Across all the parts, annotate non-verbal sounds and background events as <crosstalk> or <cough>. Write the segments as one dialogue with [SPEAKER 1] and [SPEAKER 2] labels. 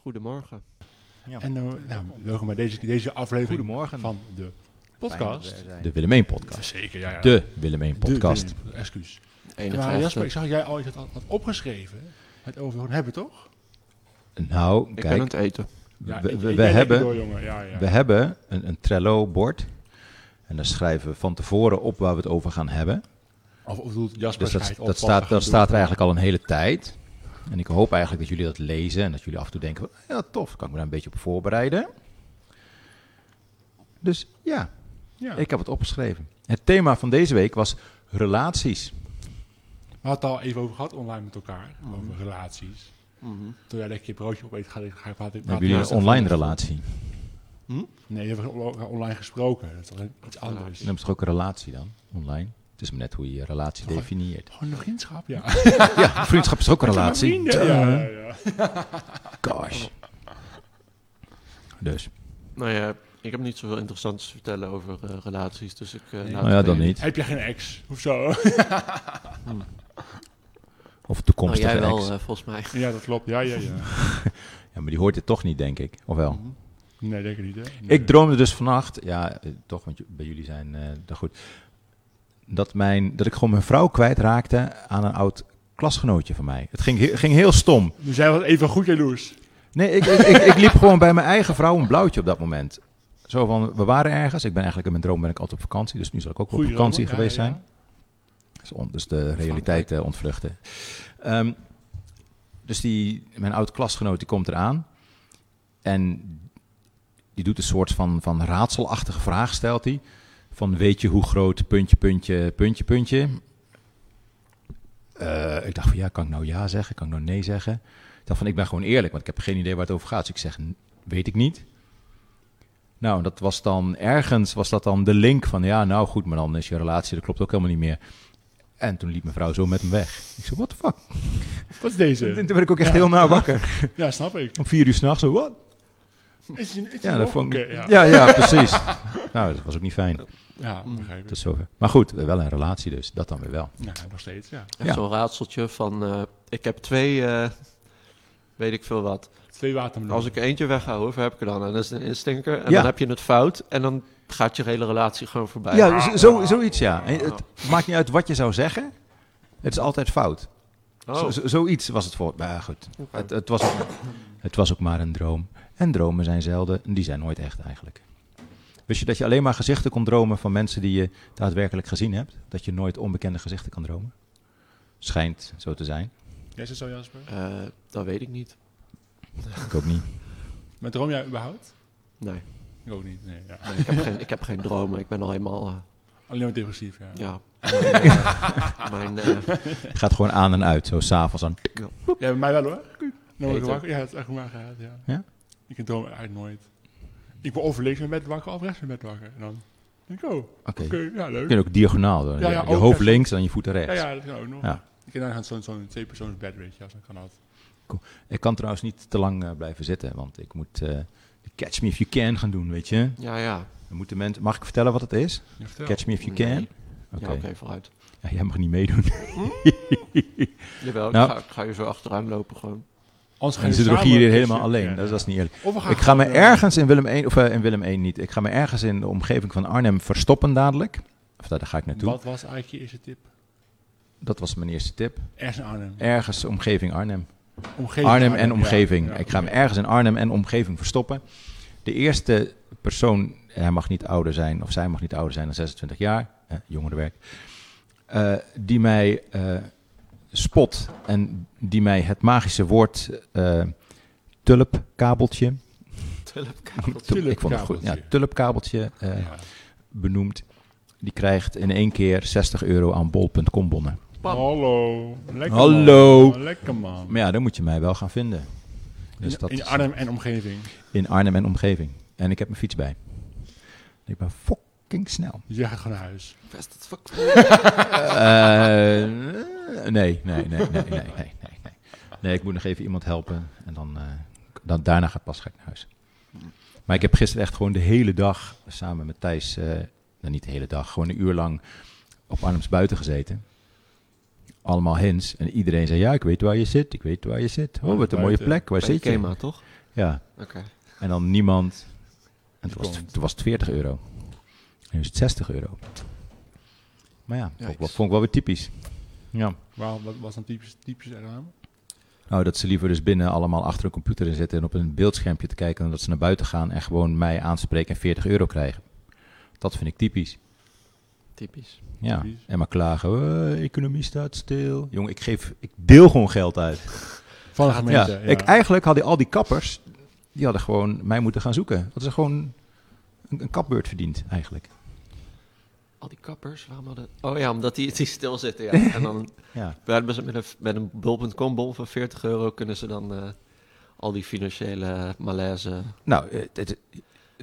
[SPEAKER 1] Goedemorgen.
[SPEAKER 2] Ja.
[SPEAKER 3] En eh, nou, welkom bij deze, deze aflevering
[SPEAKER 2] Goedemorgen.
[SPEAKER 3] van de podcast.
[SPEAKER 4] De Willemijn podcast.
[SPEAKER 3] Zeker, ja. ja.
[SPEAKER 4] De Willemijn
[SPEAKER 3] De-
[SPEAKER 4] podcast.
[SPEAKER 3] de- Excuus. Maar
[SPEAKER 1] 51.
[SPEAKER 4] eh,
[SPEAKER 3] Jasper, ik zag jij al iets had, had opgeschreven. hè? Het over hebben, toch?
[SPEAKER 4] Nou,
[SPEAKER 1] Ik ben aan het
[SPEAKER 4] kijk,
[SPEAKER 1] eten.
[SPEAKER 4] we,
[SPEAKER 3] ik-
[SPEAKER 4] we,
[SPEAKER 3] ik
[SPEAKER 4] we
[SPEAKER 3] ben lekker door,
[SPEAKER 4] hebben,
[SPEAKER 3] jongen. Ja, ja.
[SPEAKER 4] we hebben een, een Trello-bord. En daar schrijven we van tevoren op waar we het over gaan hebben.
[SPEAKER 3] Of, of doet Jasper
[SPEAKER 4] Dus dat,
[SPEAKER 3] schijt op
[SPEAKER 4] dat,
[SPEAKER 3] wat we
[SPEAKER 4] staat,
[SPEAKER 3] gaan
[SPEAKER 4] dat staat er
[SPEAKER 3] doen.
[SPEAKER 4] eigenlijk al een hele tijd. En ik hoop eigenlijk dat jullie dat lezen en dat jullie af en toe denken, ja tof, kan ik me daar een beetje op voorbereiden. Dus ja,
[SPEAKER 3] Ja.
[SPEAKER 4] ik heb het opgeschreven. Het thema van deze week was relaties.
[SPEAKER 3] We hadden het al even over gehad online met elkaar. Over relaties. Toen jij lekker je broodje opeet, ga ik, ga ik praten.
[SPEAKER 4] Hebben jullie een online relatie?
[SPEAKER 3] Nee, we hebben on- online gesproken. Dat is wel iets anders.
[SPEAKER 4] Dan is toch ook een relatie dan, online? Het is maar net hoe je je relatie
[SPEAKER 3] Toch-
[SPEAKER 4] definieert.
[SPEAKER 3] Gewoon een vriendschap, ja.
[SPEAKER 4] Ja, <laughs> vriendschap is ook een relatie.
[SPEAKER 3] Vrienden, ja, ja, ja.
[SPEAKER 4] Gosh. Dus,
[SPEAKER 1] Nou ja, ik heb niet zoveel interessants te vertellen over eh, relaties, dus ik eh, laat
[SPEAKER 4] nou ja,
[SPEAKER 1] het
[SPEAKER 4] dan
[SPEAKER 1] even.
[SPEAKER 4] niet.
[SPEAKER 3] Heb je geen ex of zo?
[SPEAKER 4] Of
[SPEAKER 1] Nou,
[SPEAKER 4] toekomstige
[SPEAKER 1] jij wel,
[SPEAKER 4] ex.
[SPEAKER 1] eh, volgens mij.
[SPEAKER 3] ja, dat klopt. Ja, ja, ja.
[SPEAKER 4] Ja, maar die hoort dit toch niet, denk ik. Of wel?
[SPEAKER 3] Nee, denk ik niet, hè? Nee.
[SPEAKER 4] Ik droomde dus vannacht, ja, eh, toch, want j- bij jullie zijn eh dat goed. Dat, mijn, dat ik gewoon mijn vrouw kwijtraakte aan een oud klasgenootje van mij. Het ging, he- ging heel stom.
[SPEAKER 3] Dus jij was even goed jaloers.
[SPEAKER 4] Nee, ik, ik, ik, ik liep gewoon bij mijn eigen vrouw een blauwtje op dat moment. Zo van, we waren ergens. Ik ben eigenlijk in mijn droom ben ik altijd op vakantie. Dus nu zal ik ook wel op
[SPEAKER 3] Goeie
[SPEAKER 4] vakantie
[SPEAKER 3] droom, ja,
[SPEAKER 4] geweest
[SPEAKER 3] ja,
[SPEAKER 4] zijn.
[SPEAKER 3] ja.
[SPEAKER 4] Dus, om, dus de realiteit eh, ontvluchten. Ehm, dus die, mijn oud-klasgenoot die komt eraan. En die doet een soort van, van raadselachtige vraag, stelt hij. Van weet je hoe groot, puntje, puntje, puntje, puntje. Eh, ik dacht van ja, kan ik nou ja zeggen? Kan ik nou nee zeggen? Ik dacht van ik ben gewoon eerlijk, want ik heb geen idee waar het over gaat. Dus ik zeg, "N- weet ik niet. Nou, dat was dan ergens, was dat dan de link van ja, nou goed, maar dan is je relatie, dat klopt ook helemaal niet meer. En toen liep mijn vrouw zo met hem weg. Ik zei, what the fuck?
[SPEAKER 3] Wat is
[SPEAKER 4] Toen
[SPEAKER 3] deze?
[SPEAKER 4] toen werd ik ook echt heel nauw wakker.
[SPEAKER 3] Ja, snap ik.
[SPEAKER 4] <laughs> Om vier uur s'nachts, zo, what?
[SPEAKER 3] Is het,
[SPEAKER 4] Ja, dat vond ik...
[SPEAKER 3] ja.
[SPEAKER 4] Ja, ja, <laughs> precies. Nou, dat was ook niet fijn.
[SPEAKER 3] Ja,
[SPEAKER 4] Mm.
[SPEAKER 3] begrijp ik.
[SPEAKER 4] Tot zover. Maar goed, wel een relatie dus. Dat dan weer wel.
[SPEAKER 3] Ja, nog steeds, ja.
[SPEAKER 1] Echt
[SPEAKER 4] Ja.
[SPEAKER 1] zo'n raadseltje van, eh, ik heb twee, eh, weet ik veel wat.
[SPEAKER 3] Twee watermeloenen.
[SPEAKER 1] Als ik er eentje wegga, hoeveel heb ik er dan? En dat is een instinker, en
[SPEAKER 4] Ja.
[SPEAKER 1] dan heb je het fout, en dan gaat je hele relatie gewoon voorbij.
[SPEAKER 4] Ja, z- zo, zoiets ja. En het maakt niet uit wat je zou zeggen. Het is altijd fout. Zo-
[SPEAKER 1] Oh,
[SPEAKER 4] zo- zoiets was het voor. Maar goed,
[SPEAKER 1] oké.
[SPEAKER 4] het, het, was ook, het was ook maar een droom. En dromen zijn zelden, en die zijn nooit echt eigenlijk. Wist je dat je alleen maar gezichten kon dromen van mensen die je daadwerkelijk gezien hebt? Dat je nooit onbekende gezichten kan dromen? Schijnt zo te zijn.
[SPEAKER 3] Jij zit zo, Jasper.
[SPEAKER 1] Eh, dat weet ik niet.
[SPEAKER 4] Ik ook
[SPEAKER 3] <laughs>
[SPEAKER 4] niet.
[SPEAKER 3] Maar droom jij überhaupt?
[SPEAKER 1] Nee,
[SPEAKER 3] Ik ook niet, nee. Ja.
[SPEAKER 1] nee, ik, heb geen, ik heb geen dromen. Ik ben al helemaal, eh,
[SPEAKER 3] Alleen maar depressief, ja.
[SPEAKER 4] <laughs>
[SPEAKER 1] ja... Mijn, eh, mijn, eh,
[SPEAKER 4] Het gaat gewoon aan en uit, zo s'avonds aan.
[SPEAKER 3] Ja, bij mij wel hoor. Dan word ik
[SPEAKER 1] Beter.
[SPEAKER 3] wakker. Ja, het is echt goed gehad, ja.
[SPEAKER 4] Ja?
[SPEAKER 3] Ik droom eigenlijk nooit. Ik word overleefd met bed wakker of rechts met bed wakker. En dan denk ik, oh, oké,
[SPEAKER 4] Oké.
[SPEAKER 3] ja,
[SPEAKER 4] Je
[SPEAKER 3] leuk.
[SPEAKER 4] kunt ook diagonaal doen.
[SPEAKER 3] Ja, ja,
[SPEAKER 4] je
[SPEAKER 3] ook
[SPEAKER 4] hoofd
[SPEAKER 3] echt.
[SPEAKER 4] links en je voeten
[SPEAKER 3] Ja,
[SPEAKER 4] rechts.
[SPEAKER 3] ja, dat kan ook nog.
[SPEAKER 4] Ja.
[SPEAKER 3] Ik kan dan zo'n zo'n tweepersoons bed, weet je, als dan kan dat.
[SPEAKER 4] Ik kan trouwens niet te lang eh, blijven zitten, want ik moet eh, de Catch Me If You Can gaan doen, weet je.
[SPEAKER 1] ja, ja.
[SPEAKER 4] Dan moeten mensen. mag ik vertellen wat het is?
[SPEAKER 3] Ja, vertel.
[SPEAKER 4] Catch Me If You
[SPEAKER 1] Nee.
[SPEAKER 4] Can? Oké.
[SPEAKER 1] Ja, oké, vooruit.
[SPEAKER 4] Ja, jij mag niet meedoen.
[SPEAKER 1] Jawel,
[SPEAKER 4] Nou.
[SPEAKER 1] ik, ga, ik ga je zo achteraan lopen gewoon.
[SPEAKER 3] Anders
[SPEAKER 4] Dan zitten we
[SPEAKER 3] samen
[SPEAKER 4] hier
[SPEAKER 3] een
[SPEAKER 4] helemaal
[SPEAKER 3] keertje-
[SPEAKER 4] alleen.
[SPEAKER 3] Ja,
[SPEAKER 4] Dat, is-
[SPEAKER 3] ja.
[SPEAKER 4] dat is niet eerlijk.
[SPEAKER 3] Of we gaan
[SPEAKER 4] Ik ga me
[SPEAKER 3] gewoon, eh,
[SPEAKER 4] ergens in Willem 1, of eh, in Willem 1 niet, ik ga me ergens in de omgeving van Arnhem verstoppen dadelijk. Of daar, daar ga ik naartoe.
[SPEAKER 3] Wat was eigenlijk je eerste tip?
[SPEAKER 4] Dat was mijn eerste tip.
[SPEAKER 3] Ergens in Arnhem.
[SPEAKER 4] Ergens omgeving Arnhem.
[SPEAKER 3] Omgeving
[SPEAKER 4] Eh, Arnhem en omgeving.
[SPEAKER 3] ja, ja.
[SPEAKER 4] Ik ga hem ergens in Arnhem en omgeving verstoppen. De eerste persoon, hij mag niet ouder zijn, of zij mag niet ouder zijn dan 26 jaar, eh, jongerenwerk, eh, die mij eh, spot en die mij het magische woord eh, tulpkabeltje,
[SPEAKER 1] Telepkabeltje.
[SPEAKER 4] tulp, ik vond het goed, ja,
[SPEAKER 3] Tulpkabeltje.
[SPEAKER 4] tulpkabeltje eh,
[SPEAKER 3] Ja.
[SPEAKER 4] benoemd, die krijgt in één keer 60 euro aan bol.com bonnen.
[SPEAKER 1] Pam.
[SPEAKER 3] Hallo. Lekker
[SPEAKER 4] Hallo.
[SPEAKER 3] Man. Lekker man.
[SPEAKER 4] Maar ja, dan moet je mij wel gaan vinden. Dus
[SPEAKER 3] in,
[SPEAKER 4] dat
[SPEAKER 3] in
[SPEAKER 4] is-
[SPEAKER 3] Arnhem en omgeving.
[SPEAKER 4] In Arnhem en omgeving. En ik heb mijn fiets bij. Ik ben fucking snel.
[SPEAKER 3] Dus jij gaat gewoon naar huis.
[SPEAKER 1] Best het fuck.
[SPEAKER 4] Eh, nee, nee, nee, nee, nee, nee, nee, nee. Nee, ik moet nog even iemand helpen. En dan, eh, dan daarna gaat pas ga ik naar huis. Maar ik heb gisteren echt gewoon de hele dag samen met Thijs... eh, nou, niet de hele dag, gewoon een uur lang op Arnhems buiten gezeten. Allemaal hints. En iedereen zei, ja, ik weet waar je zit. Ik weet waar je zit. Oh, wat een mooie
[SPEAKER 3] Buiten.
[SPEAKER 4] plek. Waar zit je?
[SPEAKER 1] toch?
[SPEAKER 4] Ja.
[SPEAKER 1] Oké.
[SPEAKER 4] En dan niemand. En toen was,
[SPEAKER 3] Niemand.
[SPEAKER 4] het- toen was het 40 euro. En nu is het 60 euro. Maar ja, vond ik, wel,
[SPEAKER 1] Yikes.
[SPEAKER 4] vond ik wel weer typisch. Ja.
[SPEAKER 3] Waarom, wat was dan typisch, typisch eraan?
[SPEAKER 4] Nou, dat ze liever dus binnen allemaal achter een computer in zitten en op een beeldschermpje te kijken dan dat ze naar buiten gaan en gewoon mij aanspreken en 40 euro krijgen. Dat vind ik typisch.
[SPEAKER 1] Typisch.
[SPEAKER 4] Ja.
[SPEAKER 3] Typisch.
[SPEAKER 4] En maar klagen, "Eh, economie staat stil. Jong, ik geef, ik deel gewoon geld uit.
[SPEAKER 3] Van de
[SPEAKER 4] Ja,
[SPEAKER 3] gemeente. Ja,
[SPEAKER 4] Ik, eigenlijk hadden al die kappers, die hadden gewoon mij moeten gaan zoeken. Dat ze gewoon een, een kapbeurt verdiend eigenlijk.
[SPEAKER 1] Al die kappers, waarom hadden... Oh ja, omdat die, die stilzitten,
[SPEAKER 4] <laughs>
[SPEAKER 1] ja. En dan
[SPEAKER 4] Ja,
[SPEAKER 1] hebben ze met een, met een bol.com bol van 40 euro kunnen ze dan eh, al die financiële malaise...
[SPEAKER 4] nou, eh, het, het-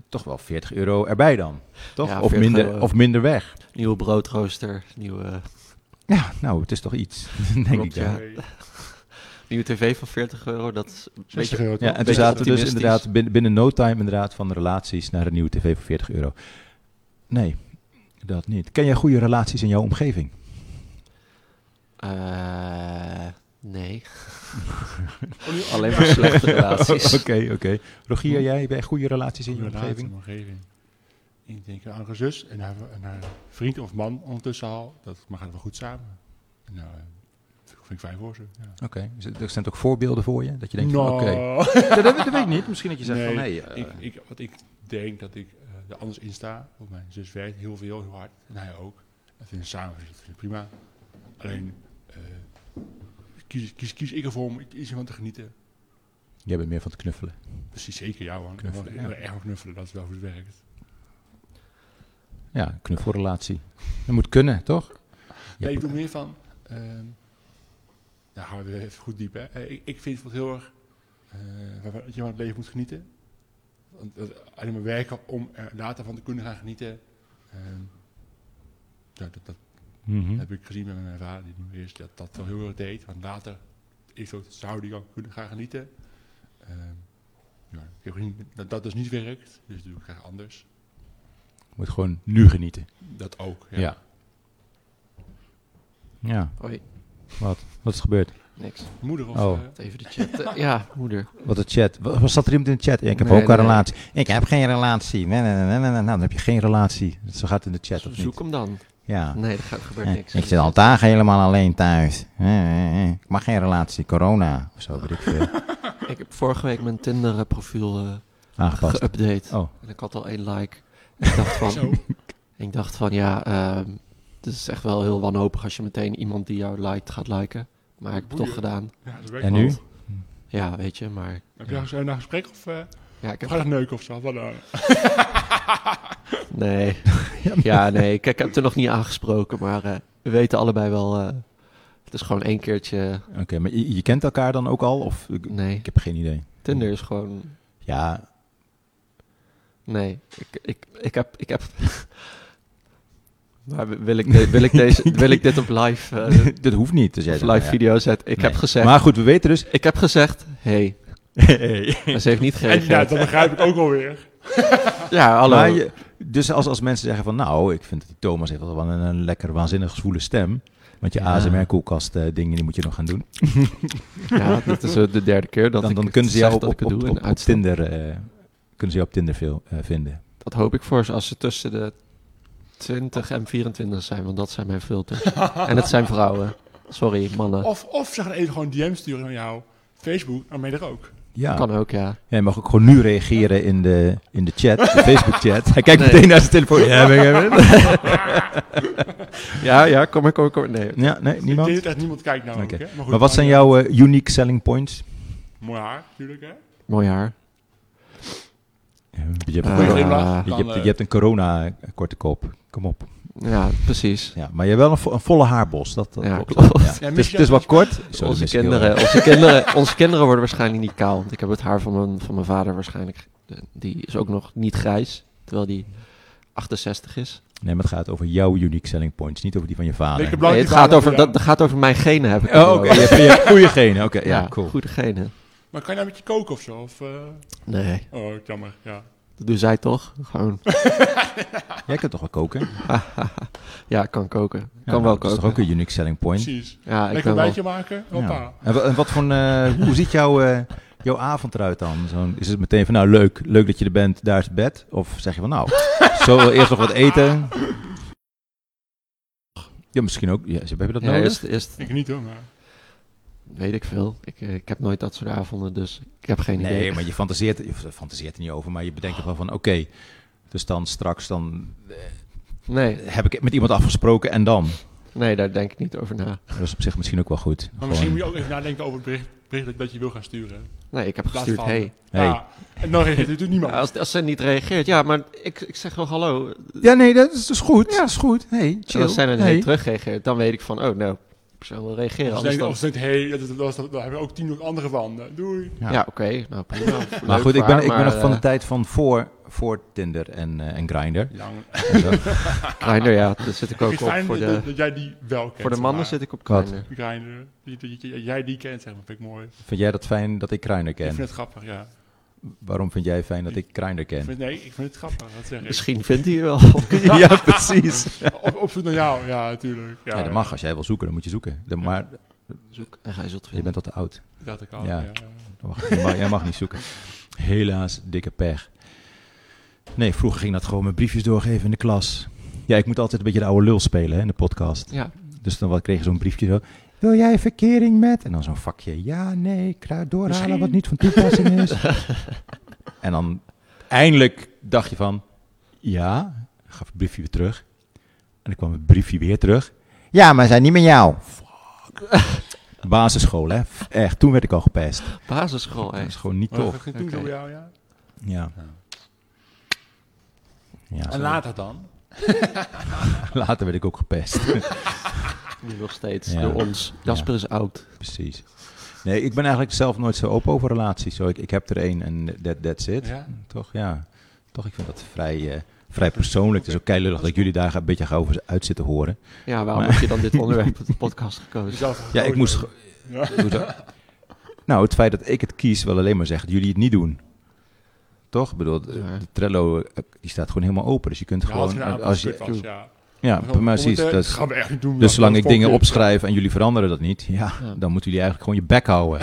[SPEAKER 4] toch wel 40 euro erbij dan. Toch?
[SPEAKER 1] Ja,
[SPEAKER 4] of,
[SPEAKER 1] 40
[SPEAKER 4] minder,
[SPEAKER 1] euro.
[SPEAKER 4] of minder weg.
[SPEAKER 1] Nieuwe broodrooster, nieuwe,
[SPEAKER 4] Ja, nou, het is toch iets, <laughs> denk ik.
[SPEAKER 1] Klopt,
[SPEAKER 4] Ja.
[SPEAKER 1] ja. nieuwe tv van 40 euro. Dat is een beetje
[SPEAKER 3] 60 euro.
[SPEAKER 4] Ja, en
[SPEAKER 3] toch?
[SPEAKER 4] toen
[SPEAKER 1] Beetje
[SPEAKER 4] zaten we dus
[SPEAKER 1] optimistisch.
[SPEAKER 4] inderdaad binnen, binnen no time inderdaad van de relaties naar een nieuwe tv voor 40 euro. Nee, dat niet. Ken jij goede relaties in jouw omgeving?
[SPEAKER 1] Eh, nee.
[SPEAKER 3] Oh,
[SPEAKER 4] dus-
[SPEAKER 3] nu-
[SPEAKER 1] Alleen maar slechte
[SPEAKER 4] <laughs>
[SPEAKER 1] relaties. Hm.
[SPEAKER 4] Oké, oké. Rogier, jij hebt echt goede relaties in je
[SPEAKER 3] Inderdaad,
[SPEAKER 4] omgeving?
[SPEAKER 3] een omgeving. Ik denk aan een zus en haar, en haar vriend of man ondertussen al. Dat maar gaat wel goed samen. En, Nou, eh, vind ik fijn voor ze. Ja.
[SPEAKER 4] Oké, dus er zijn ook voorbeelden voor je? Dat je denkt, van,
[SPEAKER 3] Nou,
[SPEAKER 4] oké. <laughs> dat, dat- dat weet ik niet. Misschien dat je zegt
[SPEAKER 3] Nee,
[SPEAKER 4] van, nee. eh,
[SPEAKER 3] ik, ik, wat ik denk dat ik eh, er anders in sta. Want mijn zus werkt heel veel, heel hard. En hij ook. En vinden samen dat vinden we prima. Alleen eh, kies, kies, kies ik ervoor om iets van te genieten.
[SPEAKER 4] jij bent meer van het knuffelen.
[SPEAKER 3] Precies zeker, ja man.
[SPEAKER 4] Knuffelen,
[SPEAKER 3] Ik wil
[SPEAKER 4] ja.
[SPEAKER 3] echt wel knuffelen, dat is wel hoe het werkt.
[SPEAKER 4] Ja, knuffelrelatie. Dat moet kunnen, toch? Je
[SPEAKER 3] Nee, ik
[SPEAKER 4] hebt-
[SPEAKER 3] doe meer van. ehm nou, gaan we weer even goed diep. Hè. Eh, Ik, ik vind het heel erg. eh, waarvan- dat je van het leven moet genieten. Want, dat- alleen maar werken om er later van te kunnen gaan genieten. Ehm, dat, dat, dat
[SPEAKER 4] Mhm.
[SPEAKER 3] heb ik gezien met mijn vader, die nu is, dat dat wel heel erg deed. Want later is ook, zou die ook kunnen gaan genieten. Ehm, ja, ik heb gezien dat dat dus niet werkt. Dus doe ik graag anders.
[SPEAKER 4] Moet gewoon nu genieten.
[SPEAKER 3] Dat ook.
[SPEAKER 4] Ja. ja.
[SPEAKER 1] Hoi,
[SPEAKER 4] wat is er gebeurd?
[SPEAKER 1] niks.
[SPEAKER 3] Moeder of.
[SPEAKER 4] Oh.
[SPEAKER 3] eh,
[SPEAKER 1] Even de chat. <laughs> Eh, ja, moeder.
[SPEAKER 4] Wat de chat. Wa- Was dat er iemand in de chat? Ja, ik heb
[SPEAKER 1] Nee,
[SPEAKER 4] ook een
[SPEAKER 1] nee.
[SPEAKER 4] relatie. Ik heb geen relatie. Nee, nee, nee, nee, nee. Nou, dan heb je geen relatie. Zo gaat het in de chat, of
[SPEAKER 1] Zoek
[SPEAKER 4] niet?
[SPEAKER 1] hem dan.
[SPEAKER 4] Ja.
[SPEAKER 1] Nee, er gaat- gebeurt
[SPEAKER 4] Eh,
[SPEAKER 1] niks.
[SPEAKER 4] Ik zit al dagen helemaal alleen thuis. Eh, eh, eh. Ik mag geen relatie. Corona. Of zo, weet ik veel. <laughs>
[SPEAKER 1] Ik heb vorige week mijn Tinder-profiel eh,
[SPEAKER 4] Aangepast.
[SPEAKER 1] geüpdate.
[SPEAKER 4] Oh,
[SPEAKER 1] En ik had al één like. Ik dacht
[SPEAKER 3] Zo.
[SPEAKER 1] van, ik dacht van ja, ehm, het is echt wel heel wanhopig als je meteen iemand die jou liked gaat liken. Maar ik heb het toch
[SPEAKER 3] Boeien.
[SPEAKER 1] gedaan.
[SPEAKER 3] Ja, dat werkt
[SPEAKER 4] en
[SPEAKER 3] wel.
[SPEAKER 4] nu?
[SPEAKER 1] Ja, weet je, maar...
[SPEAKER 3] Heb je nou een gesprek of eh
[SPEAKER 1] Ja, ik
[SPEAKER 3] ik
[SPEAKER 1] heb
[SPEAKER 3] ga dat neuken of zo? Wat nou?
[SPEAKER 4] <laughs>
[SPEAKER 1] Nee. Ja, nee. Kijk, ik heb het er nog niet aangesproken, maar eh, we weten allebei wel. eh, het is gewoon één keertje.
[SPEAKER 4] Oké, maar je, je kent elkaar dan ook al? Of ik,
[SPEAKER 1] Nee.
[SPEAKER 4] ik heb geen idee.
[SPEAKER 1] Tinder is gewoon.
[SPEAKER 4] Ja,
[SPEAKER 1] Nee. Ik, ik, ik heb. Ik heb <laughs> maar wil ik, de- wil, ik deze, wil ik dit op live, eh,
[SPEAKER 4] <laughs> dat hoeft niet. Dus jij
[SPEAKER 1] op
[SPEAKER 4] zegt,
[SPEAKER 1] live
[SPEAKER 4] nou ja.
[SPEAKER 1] video zetten? Ik heb
[SPEAKER 4] Nee.
[SPEAKER 1] gezegd.
[SPEAKER 4] Maar goed, we weten dus.
[SPEAKER 1] Ik heb gezegd. Hey.
[SPEAKER 4] <laughs>
[SPEAKER 1] Maar ze heeft <laughs> niet
[SPEAKER 3] En ja,
[SPEAKER 1] gereageerd.
[SPEAKER 3] dat begrijp ik ook alweer.
[SPEAKER 1] Ja, hallo.
[SPEAKER 4] Maar je- dus als, als mensen zeggen van, nou, ik vind dat die Thomas heeft wel een, een lekker waanzinnig zwoele stem. Want je
[SPEAKER 1] Ja.
[SPEAKER 4] ASMR-koelkast eh, dingen, die moet je nog gaan doen.
[SPEAKER 1] Ja, dit is eh, de derde keer dat
[SPEAKER 4] Dan,
[SPEAKER 1] ik
[SPEAKER 4] dan
[SPEAKER 1] het
[SPEAKER 4] kunnen ze
[SPEAKER 1] zeg
[SPEAKER 4] jou op,
[SPEAKER 1] dat ik
[SPEAKER 4] op,
[SPEAKER 1] het
[SPEAKER 4] op,
[SPEAKER 1] doe. en
[SPEAKER 4] op,
[SPEAKER 1] uitstap.
[SPEAKER 4] Tinder, eh, kunnen ze jou op Tinder veel eh, vinden.
[SPEAKER 1] Dat hoop ik voor ze als ze tussen de 20 en 24 zijn, want dat zijn mijn <laughs> filters. en het zijn vrouwen. Sorry,
[SPEAKER 4] Oh.
[SPEAKER 1] mannen.
[SPEAKER 3] Of, of ze gaan even gewoon een DM sturen naar jou. Facebook, dan ben je er ook.
[SPEAKER 4] Ja,
[SPEAKER 1] Kan ook, ja.
[SPEAKER 4] jij mag ook gewoon nu reageren in de, in de chat, de Facebook-chat.
[SPEAKER 1] <laughs>
[SPEAKER 4] Hij kijkt
[SPEAKER 1] Nee.
[SPEAKER 4] meteen naar zijn telefoon. Ja, ben jij
[SPEAKER 1] <laughs>
[SPEAKER 4] weer?
[SPEAKER 1] Ja, ja, kom ik ook. Nee.
[SPEAKER 4] ja nee,
[SPEAKER 3] Ik
[SPEAKER 4] niemand.
[SPEAKER 3] denk dat echt niemand kijkt naar
[SPEAKER 4] Oké.
[SPEAKER 3] ook, hè? goed,
[SPEAKER 4] Maar wat zijn jouw eh, unique selling points?
[SPEAKER 3] Mooi haar, natuurlijk, hè?
[SPEAKER 1] Mooi haar.
[SPEAKER 4] Ja, Je hebt,
[SPEAKER 1] Eh,
[SPEAKER 3] Goeie
[SPEAKER 4] je,
[SPEAKER 3] glimlach.
[SPEAKER 4] Ah, je
[SPEAKER 3] Dan,
[SPEAKER 4] hebt, je
[SPEAKER 3] eh,
[SPEAKER 4] hebt een corona-korte kop. Kom op.
[SPEAKER 1] Ja, precies.
[SPEAKER 4] Ja, maar je hebt wel een, vo- een volle haarbos. Dat, dat
[SPEAKER 1] Ja,
[SPEAKER 4] klopt.
[SPEAKER 1] klopt.
[SPEAKER 4] Ja.
[SPEAKER 1] Ja,
[SPEAKER 4] het,
[SPEAKER 3] mis je
[SPEAKER 4] is, het is wel kort. Zo, dat
[SPEAKER 1] onze,
[SPEAKER 4] mis ik heel
[SPEAKER 1] kinderen,
[SPEAKER 4] erg.
[SPEAKER 1] onze, kinderen, onze kinderen worden waarschijnlijk niet kaal. Want ik heb het haar van mijn, van mijn vader waarschijnlijk. Die is ook nog niet grijs. Terwijl die 68 is.
[SPEAKER 4] Nee, maar het gaat over jouw unique selling points. Niet over die van je vader.
[SPEAKER 3] Lekker
[SPEAKER 1] Nee,
[SPEAKER 3] Belangrijk
[SPEAKER 1] het gaat
[SPEAKER 3] verhaal
[SPEAKER 1] over,
[SPEAKER 3] voor jou.
[SPEAKER 1] dat, dat gaat over mijn genen, heb ik het
[SPEAKER 4] Oh, oké.
[SPEAKER 1] over.
[SPEAKER 4] Je hebt- je hebt goede genen. Oké, ja, cool.
[SPEAKER 1] Goede genen.
[SPEAKER 3] Maar kan je nou met je koken of zo? Of, eh,
[SPEAKER 1] Nee.
[SPEAKER 3] Oh, jammer, ja.
[SPEAKER 1] Dat doet zij toch? Gewoon.
[SPEAKER 4] Jij kunt toch wel koken?
[SPEAKER 1] ja, kan koken.
[SPEAKER 4] Ja,
[SPEAKER 1] Kan wel
[SPEAKER 4] Dat is
[SPEAKER 1] koken.
[SPEAKER 4] toch ook een unique selling point?
[SPEAKER 3] Precies.
[SPEAKER 1] Ja, ik
[SPEAKER 3] Lekker
[SPEAKER 1] ben wel...
[SPEAKER 3] ontbijtje maken.
[SPEAKER 4] Ja.
[SPEAKER 3] Hoppa.
[SPEAKER 4] En, wa- en wat voor een, eh, hoe ziet jouw, eh, jouw avond eruit dan? Zo'n, is het meteen van, nou leuk, leuk dat je er bent, daar is het bed? Of zeg je van, <laughs> nou, zo eerst nog wat eten? Ja, misschien ook. Ja, heb je dat
[SPEAKER 1] Ja,
[SPEAKER 4] nodig?
[SPEAKER 1] eerst, eerst
[SPEAKER 3] <laughs> Ik niet hoor, maar...
[SPEAKER 1] weet ik veel. Ik, eh, ik heb nooit dat soort avonden, dus ik heb geen idee.
[SPEAKER 4] nee, maar je fantaseert, je fantaseert er niet over, maar je bedenkt er wel van, oké, dus dan straks, dan
[SPEAKER 1] Nee,
[SPEAKER 4] heb ik met iemand afgesproken en dan.
[SPEAKER 1] nee, daar denk ik niet over na.
[SPEAKER 4] Dat is op zich misschien ook wel goed.
[SPEAKER 3] Maar
[SPEAKER 4] Gewoon,
[SPEAKER 3] misschien moet je ook even nadenken over het bericht, bericht dat- dat je wil gaan sturen.
[SPEAKER 1] Nee, ik heb
[SPEAKER 3] Laat
[SPEAKER 1] gestuurd,
[SPEAKER 3] vallen.
[SPEAKER 1] hey.
[SPEAKER 4] hey.
[SPEAKER 3] Ja, en dan reageert natuurlijk niemand.
[SPEAKER 1] Als, als ze niet reageert, ja, maar ik, ik zeg wel hallo.
[SPEAKER 4] Ja, nee, dat is, dat is goed. Ja, is goed. Hey,
[SPEAKER 1] En als zij dan
[SPEAKER 4] Hey.
[SPEAKER 1] niet terugreageert, dan weet ik van, oh, nou, die persoon wil reageren.
[SPEAKER 3] Of ze
[SPEAKER 1] Anders
[SPEAKER 3] denken,
[SPEAKER 1] dan...
[SPEAKER 3] of ze denken, hé, dat, dat, dat, dat- daar hebben we ook tien andere van. Eh, Doei.
[SPEAKER 4] Ja.
[SPEAKER 1] Ja, oké, nou prima.
[SPEAKER 4] Maar
[SPEAKER 1] Leuk
[SPEAKER 4] goed, ik
[SPEAKER 1] voor
[SPEAKER 4] ben,
[SPEAKER 1] haar,
[SPEAKER 4] ik ben
[SPEAKER 1] maar,
[SPEAKER 4] nog van de
[SPEAKER 1] eh,
[SPEAKER 4] tijd van voor, voor Tinder en, eh en Grindr.
[SPEAKER 1] <laughs>
[SPEAKER 3] Lang.
[SPEAKER 4] En zo.
[SPEAKER 1] Grindr, ja, daar zit ik
[SPEAKER 3] Ik vind
[SPEAKER 1] ook
[SPEAKER 3] het
[SPEAKER 1] op.
[SPEAKER 3] fijn
[SPEAKER 1] Voor
[SPEAKER 3] dat,
[SPEAKER 1] de,
[SPEAKER 3] dat jij die wel kent.
[SPEAKER 1] voor de mannen
[SPEAKER 3] zeg
[SPEAKER 1] zit ik op
[SPEAKER 4] Wat?
[SPEAKER 1] Grindr.
[SPEAKER 3] maar. Grindr. Die- die- die- Jij die kent, zeg maar. Vind ik mooi.
[SPEAKER 4] vind jij dat fijn dat ik Grindr
[SPEAKER 3] Ik
[SPEAKER 4] ken?
[SPEAKER 3] vind het grappig, ja.
[SPEAKER 4] Waarom vind jij fijn dat ik Grindr
[SPEAKER 3] Ik
[SPEAKER 4] ken?
[SPEAKER 3] vind, nee, ik vind het grappig. Dat zeg ik.
[SPEAKER 1] Misschien vindt hij wel.
[SPEAKER 4] <laughs> ja, precies.
[SPEAKER 3] Op, op zoek naar jou, ja, natuurlijk. Ja,
[SPEAKER 4] Ja, dat mag. Als jij wil zoeken, dan moet je zoeken. Dan- maar
[SPEAKER 1] Zoek en gij zult
[SPEAKER 4] je
[SPEAKER 1] vinden.
[SPEAKER 4] bent al te oud.
[SPEAKER 3] Dat dacht ik al.
[SPEAKER 4] Ja.
[SPEAKER 3] Ja.
[SPEAKER 4] Dan mag- je mag, jij mag niet zoeken. Helaas, dikke pech. Nee, vroeger ging dat gewoon met briefjes doorgeven in de klas. Ja, ik moet altijd een beetje de oude lul spelen hè, in de podcast.
[SPEAKER 1] Ja,
[SPEAKER 4] Dus dan wat- kreeg je zo'n briefje zo. Wil jij verkering met? En dan zo'n vakje. Ja, nee, kra- doorhalen
[SPEAKER 3] Misschien.
[SPEAKER 4] wat niet van toepassing is. en dan eindelijk dacht je van... Ja, gaf het briefje weer terug. En dan kwam het briefje weer terug. Ja, maar zijn niet met jou. Fuck. <laughs> Basisschool, hè? F- Echt, toen werd ik al gepest.
[SPEAKER 3] Oh,
[SPEAKER 1] basisschool
[SPEAKER 4] Dat is
[SPEAKER 1] echt.
[SPEAKER 4] gewoon niet
[SPEAKER 3] Maar dat
[SPEAKER 4] tof.
[SPEAKER 3] ging toen
[SPEAKER 1] Oké.
[SPEAKER 3] zo bij jou, Oh, ja.
[SPEAKER 4] Ja. Ja,
[SPEAKER 3] En
[SPEAKER 4] zo.
[SPEAKER 3] later dan?
[SPEAKER 4] later werd ik ook gepest.
[SPEAKER 1] Nu nog steeds,
[SPEAKER 4] Ja.
[SPEAKER 1] door ons. Jasper is oud.
[SPEAKER 4] Precies. Nee, ik ben eigenlijk zelf nooit zo open over relaties. Zo, ik, ik heb er één en that, that's it.
[SPEAKER 3] Ja.
[SPEAKER 4] Toch, ja. Toch, ik vind dat vrij, eh, vrij persoonlijk. Het is ook keilullig dat jullie daar een beetje gaan over uit zitten horen.
[SPEAKER 1] Ja, waarom
[SPEAKER 4] Maar-
[SPEAKER 1] heb je dan dit onderwerp op de podcast
[SPEAKER 3] <laughs>
[SPEAKER 1] gekozen?
[SPEAKER 3] Jezelf
[SPEAKER 4] Ja, ik moest...
[SPEAKER 3] gekozen.
[SPEAKER 4] ge-
[SPEAKER 3] Oh, Ja.
[SPEAKER 4] Hoezo? nou, het feit dat ik het kies wil alleen maar zeggen dat jullie het niet doen. Toch? Ik bedoel, de,
[SPEAKER 1] Ja.
[SPEAKER 4] de Trello eh, die staat gewoon helemaal open. Dus je kunt
[SPEAKER 3] Ja, als
[SPEAKER 4] gewoon...
[SPEAKER 3] je nou een
[SPEAKER 4] eh,
[SPEAKER 3] aanpassing
[SPEAKER 4] als je,
[SPEAKER 3] kut was, ja.
[SPEAKER 4] ja,
[SPEAKER 3] Maar
[SPEAKER 4] precies.
[SPEAKER 3] moeten-
[SPEAKER 4] Dat is-
[SPEAKER 3] gaan we echt niet doen.
[SPEAKER 4] dus
[SPEAKER 3] want
[SPEAKER 4] zolang
[SPEAKER 3] dan
[SPEAKER 4] ik dingen
[SPEAKER 3] volgt je-
[SPEAKER 4] opschrijf en jullie veranderen dat niet, ja,
[SPEAKER 1] Ja.
[SPEAKER 4] dan moeten jullie eigenlijk gewoon je bek
[SPEAKER 1] <laughs>
[SPEAKER 4] houden.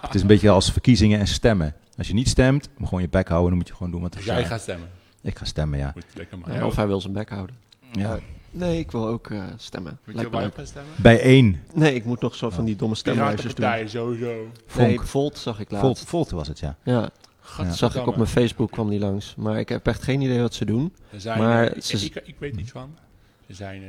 [SPEAKER 4] het is een beetje als verkiezingen en stemmen. Als je niet stemt, moet gewoon je bek houden, dan moet je gewoon doen wat er
[SPEAKER 3] Dus Jij
[SPEAKER 4] staat.
[SPEAKER 3] gaat stemmen.
[SPEAKER 4] Ik ga stemmen, ja.
[SPEAKER 3] Goed, lekker maar.
[SPEAKER 1] Ja, of hij wil zijn bek houden.
[SPEAKER 4] ja.
[SPEAKER 1] Nee, ik wil ook eh, stemmen.
[SPEAKER 3] Weet je
[SPEAKER 1] Lijkt me
[SPEAKER 3] waar
[SPEAKER 1] leuk.
[SPEAKER 3] je op gaat stemmen?
[SPEAKER 4] Bij één.
[SPEAKER 1] Nee, ik moet nog zo van die domme stemlijstjes doen.
[SPEAKER 3] Piratenpartij, sowieso.
[SPEAKER 1] Nee,
[SPEAKER 4] Vonk.
[SPEAKER 1] Volt zag ik
[SPEAKER 4] Volt,
[SPEAKER 1] laatst.
[SPEAKER 4] Volt was het, ja.
[SPEAKER 1] Ja,
[SPEAKER 3] Gadverdamme.
[SPEAKER 1] dat zag ik op mijn Facebook kwam die langs. Maar ik heb echt geen idee wat ze doen.
[SPEAKER 3] Er zijn,
[SPEAKER 1] maar
[SPEAKER 3] eh, ik,
[SPEAKER 1] ze-
[SPEAKER 3] ik, ik weet iets van. Er zijn, eh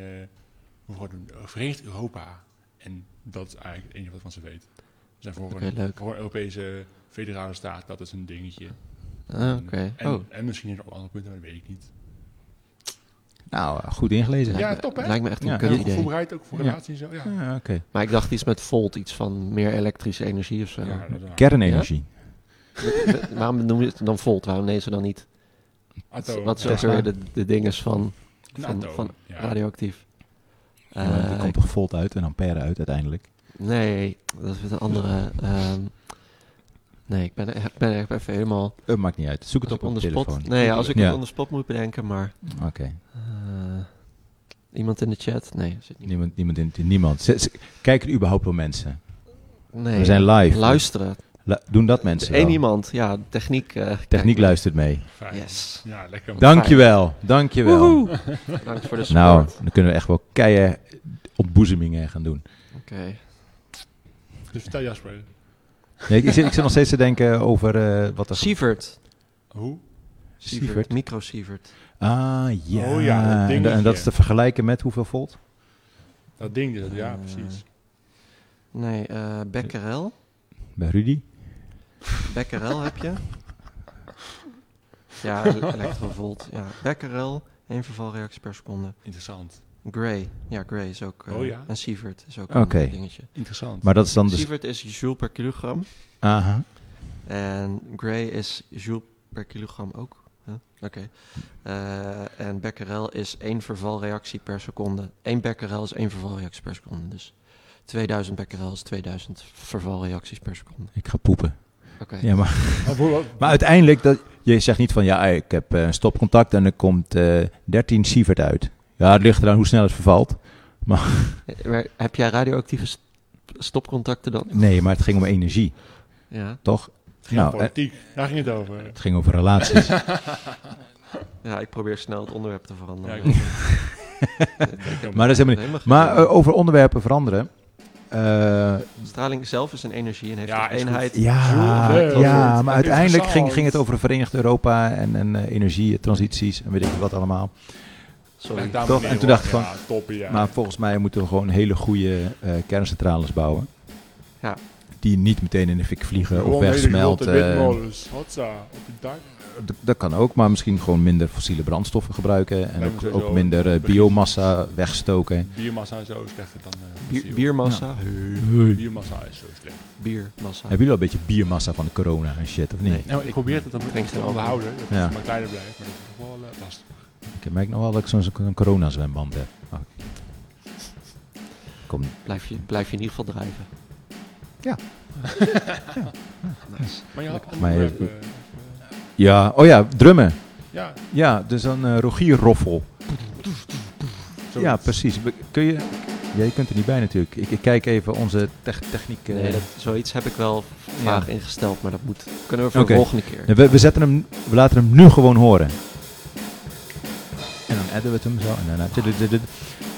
[SPEAKER 3] hoe wordt het, eh, Verenigd Europa. En dat is eigenlijk het enige wat ik van ze weet. Ze zijn voor,
[SPEAKER 1] Oké,
[SPEAKER 3] een,
[SPEAKER 1] leuk.
[SPEAKER 3] voor een Europese federale staat, dat is een dingetje.
[SPEAKER 1] Ah, Oké.
[SPEAKER 3] En,
[SPEAKER 1] Oh,
[SPEAKER 3] en misschien is er ook andere punten, maar dat weet ik niet.
[SPEAKER 4] Nou, eh, goed ingelezen.
[SPEAKER 3] Ja,
[SPEAKER 1] lijkt me-
[SPEAKER 3] top, hè?
[SPEAKER 1] Lijkt me echt een
[SPEAKER 4] Ja.
[SPEAKER 1] kut
[SPEAKER 3] Heel goed
[SPEAKER 1] idee.
[SPEAKER 3] voorbereid, ook voor
[SPEAKER 4] Ja.
[SPEAKER 3] relaties en zo. Ja,
[SPEAKER 4] Ja, oké.
[SPEAKER 1] Maar ik dacht iets met Volt, iets van meer elektrische energie of zo.
[SPEAKER 3] ja. dat is waar.
[SPEAKER 4] Kernenergie.
[SPEAKER 1] <laughs> Waarom noem je het dan Volt? Waarom nemen ze dan niet?
[SPEAKER 3] Atto,
[SPEAKER 1] Wat
[SPEAKER 3] ja.
[SPEAKER 1] zijn ook weer de, de dinges van
[SPEAKER 3] Een
[SPEAKER 1] van-
[SPEAKER 3] atto,
[SPEAKER 1] van
[SPEAKER 3] ja.
[SPEAKER 1] radioactief?
[SPEAKER 4] Ja, want die
[SPEAKER 1] Eh,
[SPEAKER 4] komt toch volt uit en ampère uit uiteindelijk.
[SPEAKER 1] Nee, dat is weer een andere. ehm, nee, ik ben, ik ben echt even helemaal.
[SPEAKER 4] Eh, maakt niet uit. Zoek het
[SPEAKER 1] Als ik
[SPEAKER 4] op op
[SPEAKER 1] on
[SPEAKER 4] de
[SPEAKER 1] the
[SPEAKER 4] telefoon.
[SPEAKER 1] spot. Nee, ja, als ik
[SPEAKER 4] Ja.
[SPEAKER 1] het on the spot moet bedenken, maar.
[SPEAKER 4] Oké.
[SPEAKER 1] eh, iemand in de chat? Nee, er zit niet.
[SPEAKER 4] Niemand, niemand, in- niemand. Z- z- Kijken er überhaupt wel mensen?
[SPEAKER 1] Nee.
[SPEAKER 4] We zijn live.
[SPEAKER 1] Luisteren.
[SPEAKER 4] Lu- doen dat mensen
[SPEAKER 1] Eén
[SPEAKER 4] wel?
[SPEAKER 1] iemand, ja, techniek. eh,
[SPEAKER 4] Techniek
[SPEAKER 1] kijk.
[SPEAKER 4] luistert mee.
[SPEAKER 3] Fijn.
[SPEAKER 1] Yes.
[SPEAKER 3] Ja, lekker. man.
[SPEAKER 4] Dankjewel, dankjewel.
[SPEAKER 1] Bedankt
[SPEAKER 4] <laughs>
[SPEAKER 1] voor de support.
[SPEAKER 4] Nou, dan kunnen we echt wel keien ontboezemingen gaan doen.
[SPEAKER 1] Oké.
[SPEAKER 3] Dus vertel Jasper,
[SPEAKER 4] Nee, ik, zit, ik zit nog steeds te denken over eh, wat er...
[SPEAKER 1] Sievert.
[SPEAKER 3] hoe?
[SPEAKER 4] Sievert.
[SPEAKER 1] Micro Sievert.
[SPEAKER 4] Ah, ja.
[SPEAKER 3] Oh ja, dat
[SPEAKER 4] En da- en,
[SPEAKER 3] dingetje.
[SPEAKER 4] dat is te vergelijken met hoeveel volt?
[SPEAKER 3] Dat ding, dus, ja,
[SPEAKER 1] Eh,
[SPEAKER 3] precies.
[SPEAKER 1] Nee, eh Becquerel.
[SPEAKER 4] Bij Rudy?
[SPEAKER 1] Becquerel heb je. Ja, <laughs> ele- elektrovolt. Ja, Becquerel. één vervalreactie per seconde.
[SPEAKER 3] Interessant.
[SPEAKER 1] Gray. Ja, Gray is ook. eh,
[SPEAKER 3] Oh ja.
[SPEAKER 1] En Sievert is ook
[SPEAKER 4] Oké.
[SPEAKER 1] een dingetje.
[SPEAKER 3] Interessant.
[SPEAKER 4] Maar dat is dan dus...
[SPEAKER 1] Sievert is joule per kilogram.
[SPEAKER 4] Aha.
[SPEAKER 1] En Gray is joule per kilogram ook. Huh? Oké. Eh, en Becquerel is één vervalreactie per seconde. Eén Becquerel is één vervalreactie per seconde. Dus 2000 Becquerel is 2000 vervalreacties per seconde.
[SPEAKER 4] Ik ga poepen.
[SPEAKER 1] Oké.
[SPEAKER 4] Ja, maar
[SPEAKER 3] Maar hoe- wat-
[SPEAKER 4] Maar uiteindelijk, dat, je zegt niet van ja, ik heb eh, een stopcontact en er komt eh 13 sievert uit. Ja, het ligt eraan hoe snel het vervalt.
[SPEAKER 1] Eh, Maar heb jij radioactieve st- stopcontacten dan?
[SPEAKER 4] Nee, maar het ging om energie,
[SPEAKER 1] Ja.
[SPEAKER 4] toch?
[SPEAKER 3] Geen
[SPEAKER 1] eh,
[SPEAKER 4] Nou,
[SPEAKER 3] politiek, daar ging het over.
[SPEAKER 4] Het ging over relaties. <laughs>
[SPEAKER 1] ja, ik probeer snel het onderwerp te veranderen.
[SPEAKER 3] Ja, ik-
[SPEAKER 1] Nee,
[SPEAKER 4] maar dat is helemaal niet.
[SPEAKER 1] helemaal geen
[SPEAKER 4] Maar
[SPEAKER 1] probleem.
[SPEAKER 4] eh, over onderwerpen veranderen. eh,
[SPEAKER 1] straling zelf is een energie en heeft
[SPEAKER 3] Ja,
[SPEAKER 1] een
[SPEAKER 3] is goed.
[SPEAKER 1] eenheid.
[SPEAKER 4] ja,
[SPEAKER 3] Leuk.
[SPEAKER 4] ja, maar
[SPEAKER 3] Interessant.
[SPEAKER 4] uiteindelijk ging, ging het over Verenigd Europa en, en eh, energie, transities en weet ik wat allemaal.
[SPEAKER 1] Sorry.
[SPEAKER 3] Daar
[SPEAKER 4] Toch?
[SPEAKER 3] moet
[SPEAKER 4] En toen
[SPEAKER 3] je
[SPEAKER 4] dacht ik van-
[SPEAKER 3] Ja, toppie, ja.
[SPEAKER 4] Maar volgens mij moeten we gewoon hele goede eh, kerncentrales bouwen.
[SPEAKER 1] Ja.
[SPEAKER 4] Die niet meteen in de fik vliegen of
[SPEAKER 3] Gewoon hele grote
[SPEAKER 4] wegsmelten. eh,
[SPEAKER 3] windmolens. Hotza, op het dak.
[SPEAKER 4] D- dat kan ook, maar misschien gewoon minder fossiele brandstoffen gebruiken.
[SPEAKER 3] Lijkt
[SPEAKER 4] En
[SPEAKER 3] me
[SPEAKER 4] ook,
[SPEAKER 3] sowieso
[SPEAKER 4] ook minder eh,
[SPEAKER 3] een begin.
[SPEAKER 4] biomassa wegstoken.
[SPEAKER 3] Biermassa is zo slechter dan eh,
[SPEAKER 1] Bier,
[SPEAKER 3] fossiel.
[SPEAKER 1] biermassa?
[SPEAKER 3] Biermassa is zo slecht.
[SPEAKER 1] Biermassa.
[SPEAKER 4] Hebben jullie al een beetje biomassa van de corona en shit, of niet?
[SPEAKER 1] Nee.
[SPEAKER 3] Nou, ik probeer het dan
[SPEAKER 1] Drink
[SPEAKER 3] te
[SPEAKER 1] snel.
[SPEAKER 3] onderhouden, dat het
[SPEAKER 4] Ja.
[SPEAKER 3] maar kleiner blijft, maar dat is toch wel eh, lastig.
[SPEAKER 4] Ik merk nog wel dat ik zo'n zo'n corona-zwemband heb. Oh. Kom.
[SPEAKER 1] Blijf je, blijf je in ieder geval drijven. <laughs>
[SPEAKER 4] Ja.
[SPEAKER 1] Nice.
[SPEAKER 3] Maar je had
[SPEAKER 4] Maar
[SPEAKER 3] andere eh,
[SPEAKER 4] je-
[SPEAKER 3] eh,
[SPEAKER 4] Ja, oh ja, drummen.
[SPEAKER 3] ja,
[SPEAKER 4] Ja, dus een eh rogierroffel.
[SPEAKER 3] zo
[SPEAKER 4] Ja, precies. We- Kun je... Ja, je kunt er niet bij natuurlijk. Ik, ik kijk even onze tech- techniek... eh,
[SPEAKER 1] Nee, dat, zoiets heb ik wel vaag ingesteld, maar dat moet, kunnen we voor
[SPEAKER 4] Oké.
[SPEAKER 1] de volgende keer.
[SPEAKER 4] Nee, we, we, zetten hem, we laten hem nu gewoon horen. En dan editen we het hem zo. En daarna...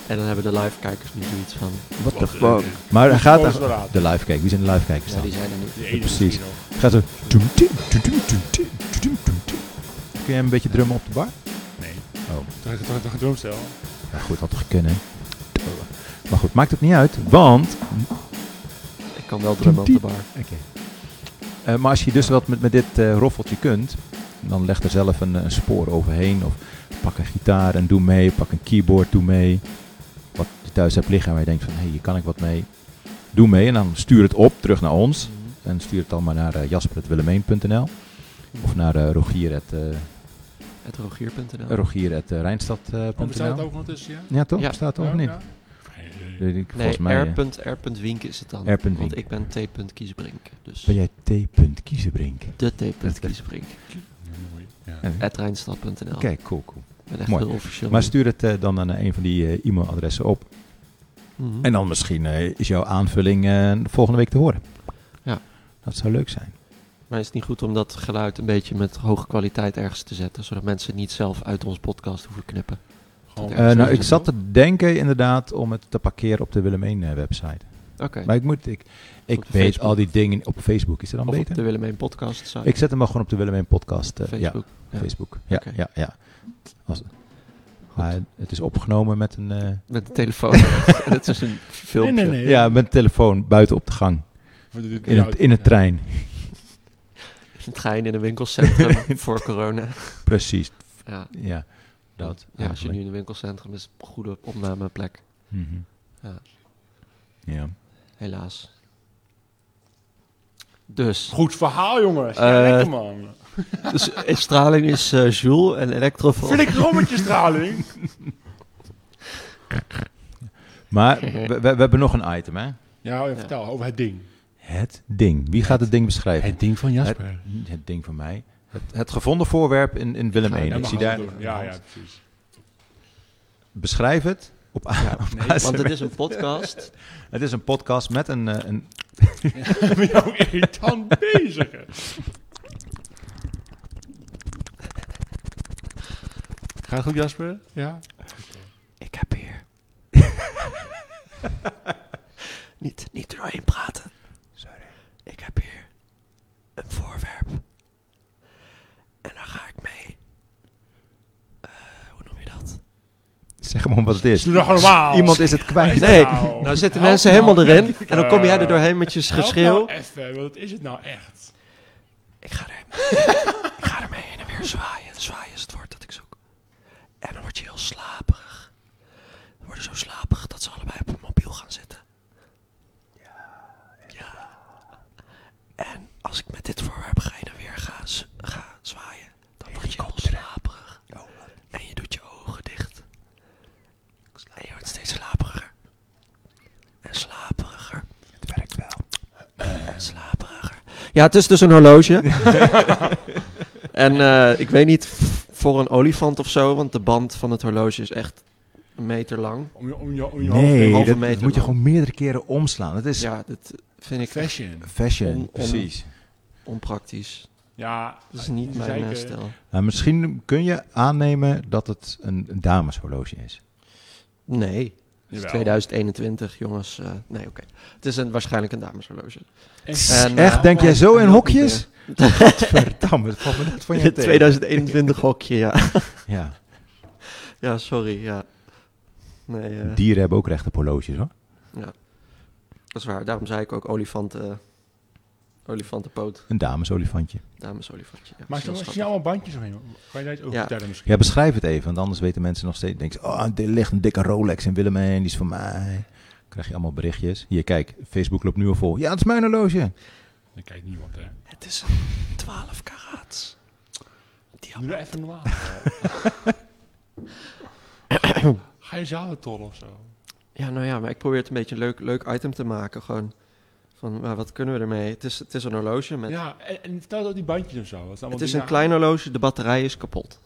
[SPEAKER 1] En dan hebben de live kijkers nu zoiets van,
[SPEAKER 4] What the
[SPEAKER 3] Wat eh,
[SPEAKER 4] fuck?
[SPEAKER 3] leuk.
[SPEAKER 4] Maar hij gaat...
[SPEAKER 3] Boos doorraad.
[SPEAKER 4] De live kijkers, wie zijn de live kijkers
[SPEAKER 1] ja,
[SPEAKER 4] dan?
[SPEAKER 1] die zijn er niet.
[SPEAKER 3] Die ene
[SPEAKER 4] precies.
[SPEAKER 3] misschien nog.
[SPEAKER 4] Gaat zo. Toem, tim, toem, tim, toem, tim, toem, toem, tim. Kun jij een beetje drummen op de bar?
[SPEAKER 3] Nee,
[SPEAKER 4] Oh,
[SPEAKER 3] toch- toch toch een drumstel.
[SPEAKER 4] ja goed, had toch kunnen. Maar goed, maakt het niet uit, want...
[SPEAKER 1] Ik kan wel drummen op de bar.
[SPEAKER 4] Oké. Eh, maar als je dus wat met, met dit eh, roffeltje kunt, dan leg er zelf een, een spoor overheen. Of pak een gitaar en doe mee, pak een keyboard, doe mee. Wat je thuis hebt liggen waar je denkt van, hé, hier kan ik wat mee. Doe mee en dan stuur het op, terug naar ons.
[SPEAKER 1] Mhm.
[SPEAKER 4] En stuur het dan maar naar eh, jasper.willemeen.nl of naar eh rogier@ eh,
[SPEAKER 1] Het rogier.nl.
[SPEAKER 3] Oh, bestaat het
[SPEAKER 4] rogier.rijnstad.nl.
[SPEAKER 3] ook nog tussen, ja?
[SPEAKER 4] Ja, toch?
[SPEAKER 1] Ja.
[SPEAKER 4] Bestaat het
[SPEAKER 3] Ja,
[SPEAKER 4] ook niet?
[SPEAKER 3] ja. Geen idee.
[SPEAKER 4] Weet ik,
[SPEAKER 1] nee,
[SPEAKER 4] Volgens mij eh,
[SPEAKER 1] r.r.wink is het dan.
[SPEAKER 4] R. Wink.
[SPEAKER 1] Want ik ben t. Kiesbrink. Dus
[SPEAKER 4] ben jij T. Kiezenbrink.
[SPEAKER 1] de t. Kiesbrink.
[SPEAKER 3] Ja, mooi. Ja.
[SPEAKER 4] Eh,
[SPEAKER 1] At Rijnstad.nl.
[SPEAKER 4] Kijk, cool, cool.
[SPEAKER 1] Ik ben echt
[SPEAKER 4] mooi.
[SPEAKER 1] heel officieel.
[SPEAKER 4] Maar stuur het eh, dan aan eh, een van die eh, e-mailadressen op.
[SPEAKER 1] Mhm.
[SPEAKER 4] En dan misschien eh, is jouw aanvulling eh, volgende week te horen.
[SPEAKER 1] Ja.
[SPEAKER 4] Dat zou leuk zijn.
[SPEAKER 1] Maar is het niet goed om dat geluid een beetje met hoge kwaliteit ergens te zetten, zodat mensen het niet zelf uit ons podcast hoeven knippen?
[SPEAKER 3] Gewoon
[SPEAKER 1] Eh,
[SPEAKER 4] Eh, nou, ik
[SPEAKER 1] sowieso.
[SPEAKER 4] zat te denken inderdaad om het te parkeren op de Willem 1 eh, website.
[SPEAKER 1] Oké.
[SPEAKER 4] Maar ik moet, ik, ik
[SPEAKER 1] Op
[SPEAKER 4] weet
[SPEAKER 1] de Facebook.
[SPEAKER 4] al die dingen op Facebook. Is dat dan
[SPEAKER 1] Of op
[SPEAKER 4] beter?
[SPEAKER 1] de Willem 1 podcast site.
[SPEAKER 4] Ik zet hem maar gewoon op de Willem 1 podcast. eh, ja,
[SPEAKER 1] Facebook. Ja.
[SPEAKER 4] Facebook. Ja,
[SPEAKER 1] Oké.
[SPEAKER 4] ja, ja. Als, maar het is opgenomen met een... eh,
[SPEAKER 1] Met de telefoon. <laughs> Het is een filmpje.
[SPEAKER 3] Nee, nee, nee.
[SPEAKER 4] Ja, met een telefoon buiten op de gang.
[SPEAKER 3] Voor de-
[SPEAKER 4] In, het, in een trein.
[SPEAKER 1] Een trein in een
[SPEAKER 4] <laughs>
[SPEAKER 1] winkelcentrum voor corona.
[SPEAKER 4] Precies.
[SPEAKER 1] Ja.
[SPEAKER 4] Ja, dat.
[SPEAKER 1] ja, als je nu
[SPEAKER 4] eigenlijk.
[SPEAKER 1] in een winkelcentrum is, een goede opnameplek.
[SPEAKER 4] Mhm.
[SPEAKER 1] Ja.
[SPEAKER 4] Ja.
[SPEAKER 1] Helaas. Dus,
[SPEAKER 3] Goed verhaal, jongens. Ja,
[SPEAKER 1] Eh,
[SPEAKER 3] lekker, man.
[SPEAKER 1] dus eh, straling is eh Joule en elektrofon.
[SPEAKER 3] Vind ik rommetjesstraling.
[SPEAKER 1] <laughs>
[SPEAKER 4] Maar we, we, we hebben nog een item, hè?
[SPEAKER 3] <laughs> Ja, oh ja, vertel over het ding.
[SPEAKER 4] Het ding. Wie gaat het ding beschrijven?
[SPEAKER 3] ding van
[SPEAKER 4] Het, het ding van mij. Het, het gevonden voorwerp in, in Willem
[SPEAKER 1] Ja,
[SPEAKER 4] 1.
[SPEAKER 1] dat
[SPEAKER 4] Ik
[SPEAKER 1] mag
[SPEAKER 4] zie
[SPEAKER 1] wel
[SPEAKER 4] daar.
[SPEAKER 1] doen.
[SPEAKER 3] Ja, ja, precies. <laughs>
[SPEAKER 4] Beschrijf het. Op, a- op basis-
[SPEAKER 1] Want het is een podcast.
[SPEAKER 4] het is een podcast met een, eh, een
[SPEAKER 3] Ik ben jou irritant bezig. hè. Gaat het goed, Jasper? Ja.
[SPEAKER 1] Ik heb hier. <laughs> niet, niet er doorheen praten.
[SPEAKER 4] Sorry.
[SPEAKER 1] Ik heb hier een voorwerp. En daar ga ik mee. eh, hoe noem je dat?
[SPEAKER 4] Zeg maar wat het is.
[SPEAKER 3] Doe dat normaal.
[SPEAKER 4] Iemand is het kwijt.
[SPEAKER 1] Nee,
[SPEAKER 3] Nou,
[SPEAKER 1] nou zitten
[SPEAKER 3] help
[SPEAKER 1] mensen
[SPEAKER 3] nou.
[SPEAKER 1] helemaal erin. En dan kom jij er doorheen met je
[SPEAKER 3] Help
[SPEAKER 1] geschreeuw.
[SPEAKER 3] nou even, want wat is het nou echt?
[SPEAKER 1] Ik ga er, ik ga ermee heen en weer zwaaien. Zwaaien is het woord dat ik zoek. En dan word je heel slaperig. We worden zo slaperig dat ze allebei op hun mobiel gaan zitten. Ja. En als ik met dit voorwerp heen en weer ga, z- ga zwaaien, dan word je heel slaperig. En je doet je ogen dicht. En je wordt steeds slaperiger. En slaperiger. Het werkt wel. En slaperiger. Ja, het is dus een <laughs> horloge. en eh, ik weet niet, f- voor een olifant of zo, want de band van het horloge is echt een meter lang.
[SPEAKER 3] Om je, om je, om je
[SPEAKER 4] Nee,
[SPEAKER 3] hoofd
[SPEAKER 4] dat,
[SPEAKER 1] halve
[SPEAKER 4] dat
[SPEAKER 1] meter
[SPEAKER 4] moet je
[SPEAKER 1] lang.
[SPEAKER 4] gewoon meerdere keren omslaan. Dat is
[SPEAKER 1] Ja, dat vind ik echt
[SPEAKER 3] fashion.
[SPEAKER 4] fashion.
[SPEAKER 1] On- on-
[SPEAKER 4] precies.
[SPEAKER 1] onpraktisch.
[SPEAKER 3] Ja,
[SPEAKER 1] Dat is niet
[SPEAKER 3] die
[SPEAKER 1] mijn eh,
[SPEAKER 3] zeiken-
[SPEAKER 1] stijl.
[SPEAKER 4] Nou, misschien kun je aannemen dat het een, een dameshorloge is.
[SPEAKER 1] Nee, het is
[SPEAKER 3] Jawel.
[SPEAKER 1] 2021, jongens. eh, nee, oké. Het is een, waarschijnlijk een dameshorloge. En,
[SPEAKER 4] Echt,
[SPEAKER 1] eh,
[SPEAKER 4] denk jij zo in
[SPEAKER 1] nog
[SPEAKER 4] hokjes?
[SPEAKER 1] een keer.
[SPEAKER 4] <laughs> Godverdamme, dat valt me net <laughs> van je
[SPEAKER 1] Het <laughs>
[SPEAKER 4] tegen.
[SPEAKER 1] 2021 hokje, ja.
[SPEAKER 4] Ja,
[SPEAKER 1] Ja, sorry, ja. Nee, eh,
[SPEAKER 4] dieren hebben ook recht op horloges hoor.
[SPEAKER 1] dat is waar. Daarom zei ik ook olifanten, olifantenpoot,
[SPEAKER 4] Een damesolifantje.
[SPEAKER 1] damesolifantje. Ja,
[SPEAKER 3] Maar
[SPEAKER 1] dat is
[SPEAKER 3] als
[SPEAKER 1] heel
[SPEAKER 3] je allemaal bandjes omheen, kan je daar iets over
[SPEAKER 1] Ja.
[SPEAKER 3] vertellen misschien?
[SPEAKER 4] Ja, beschrijf het even, want anders weten mensen nog steeds. Denken ze, oh, er ligt een dikke Rolex in Willemijn, die is van mij. Dan krijg je allemaal berichtjes. Hier, kijk, Facebook loopt nu al vol. Ja, het is mijn horloge.
[SPEAKER 3] Dan kijkt niemand, hè.
[SPEAKER 1] Het is een 12 karaats.
[SPEAKER 3] Doe nou even
[SPEAKER 1] <coughs>
[SPEAKER 3] normaal. Ga je zalen tollen of zo?
[SPEAKER 1] Ja, nou ja, maar ik probeer het een beetje een leuk, leuk item te maken. Gewoon van, maar wat kunnen we ermee? Het is, het is een horloge. Met,
[SPEAKER 3] Ja, en, en vertel ook die bandjes of zo. Dat allemaal
[SPEAKER 1] het is
[SPEAKER 3] dingen-
[SPEAKER 1] een klein horloge, de batterij is kapot.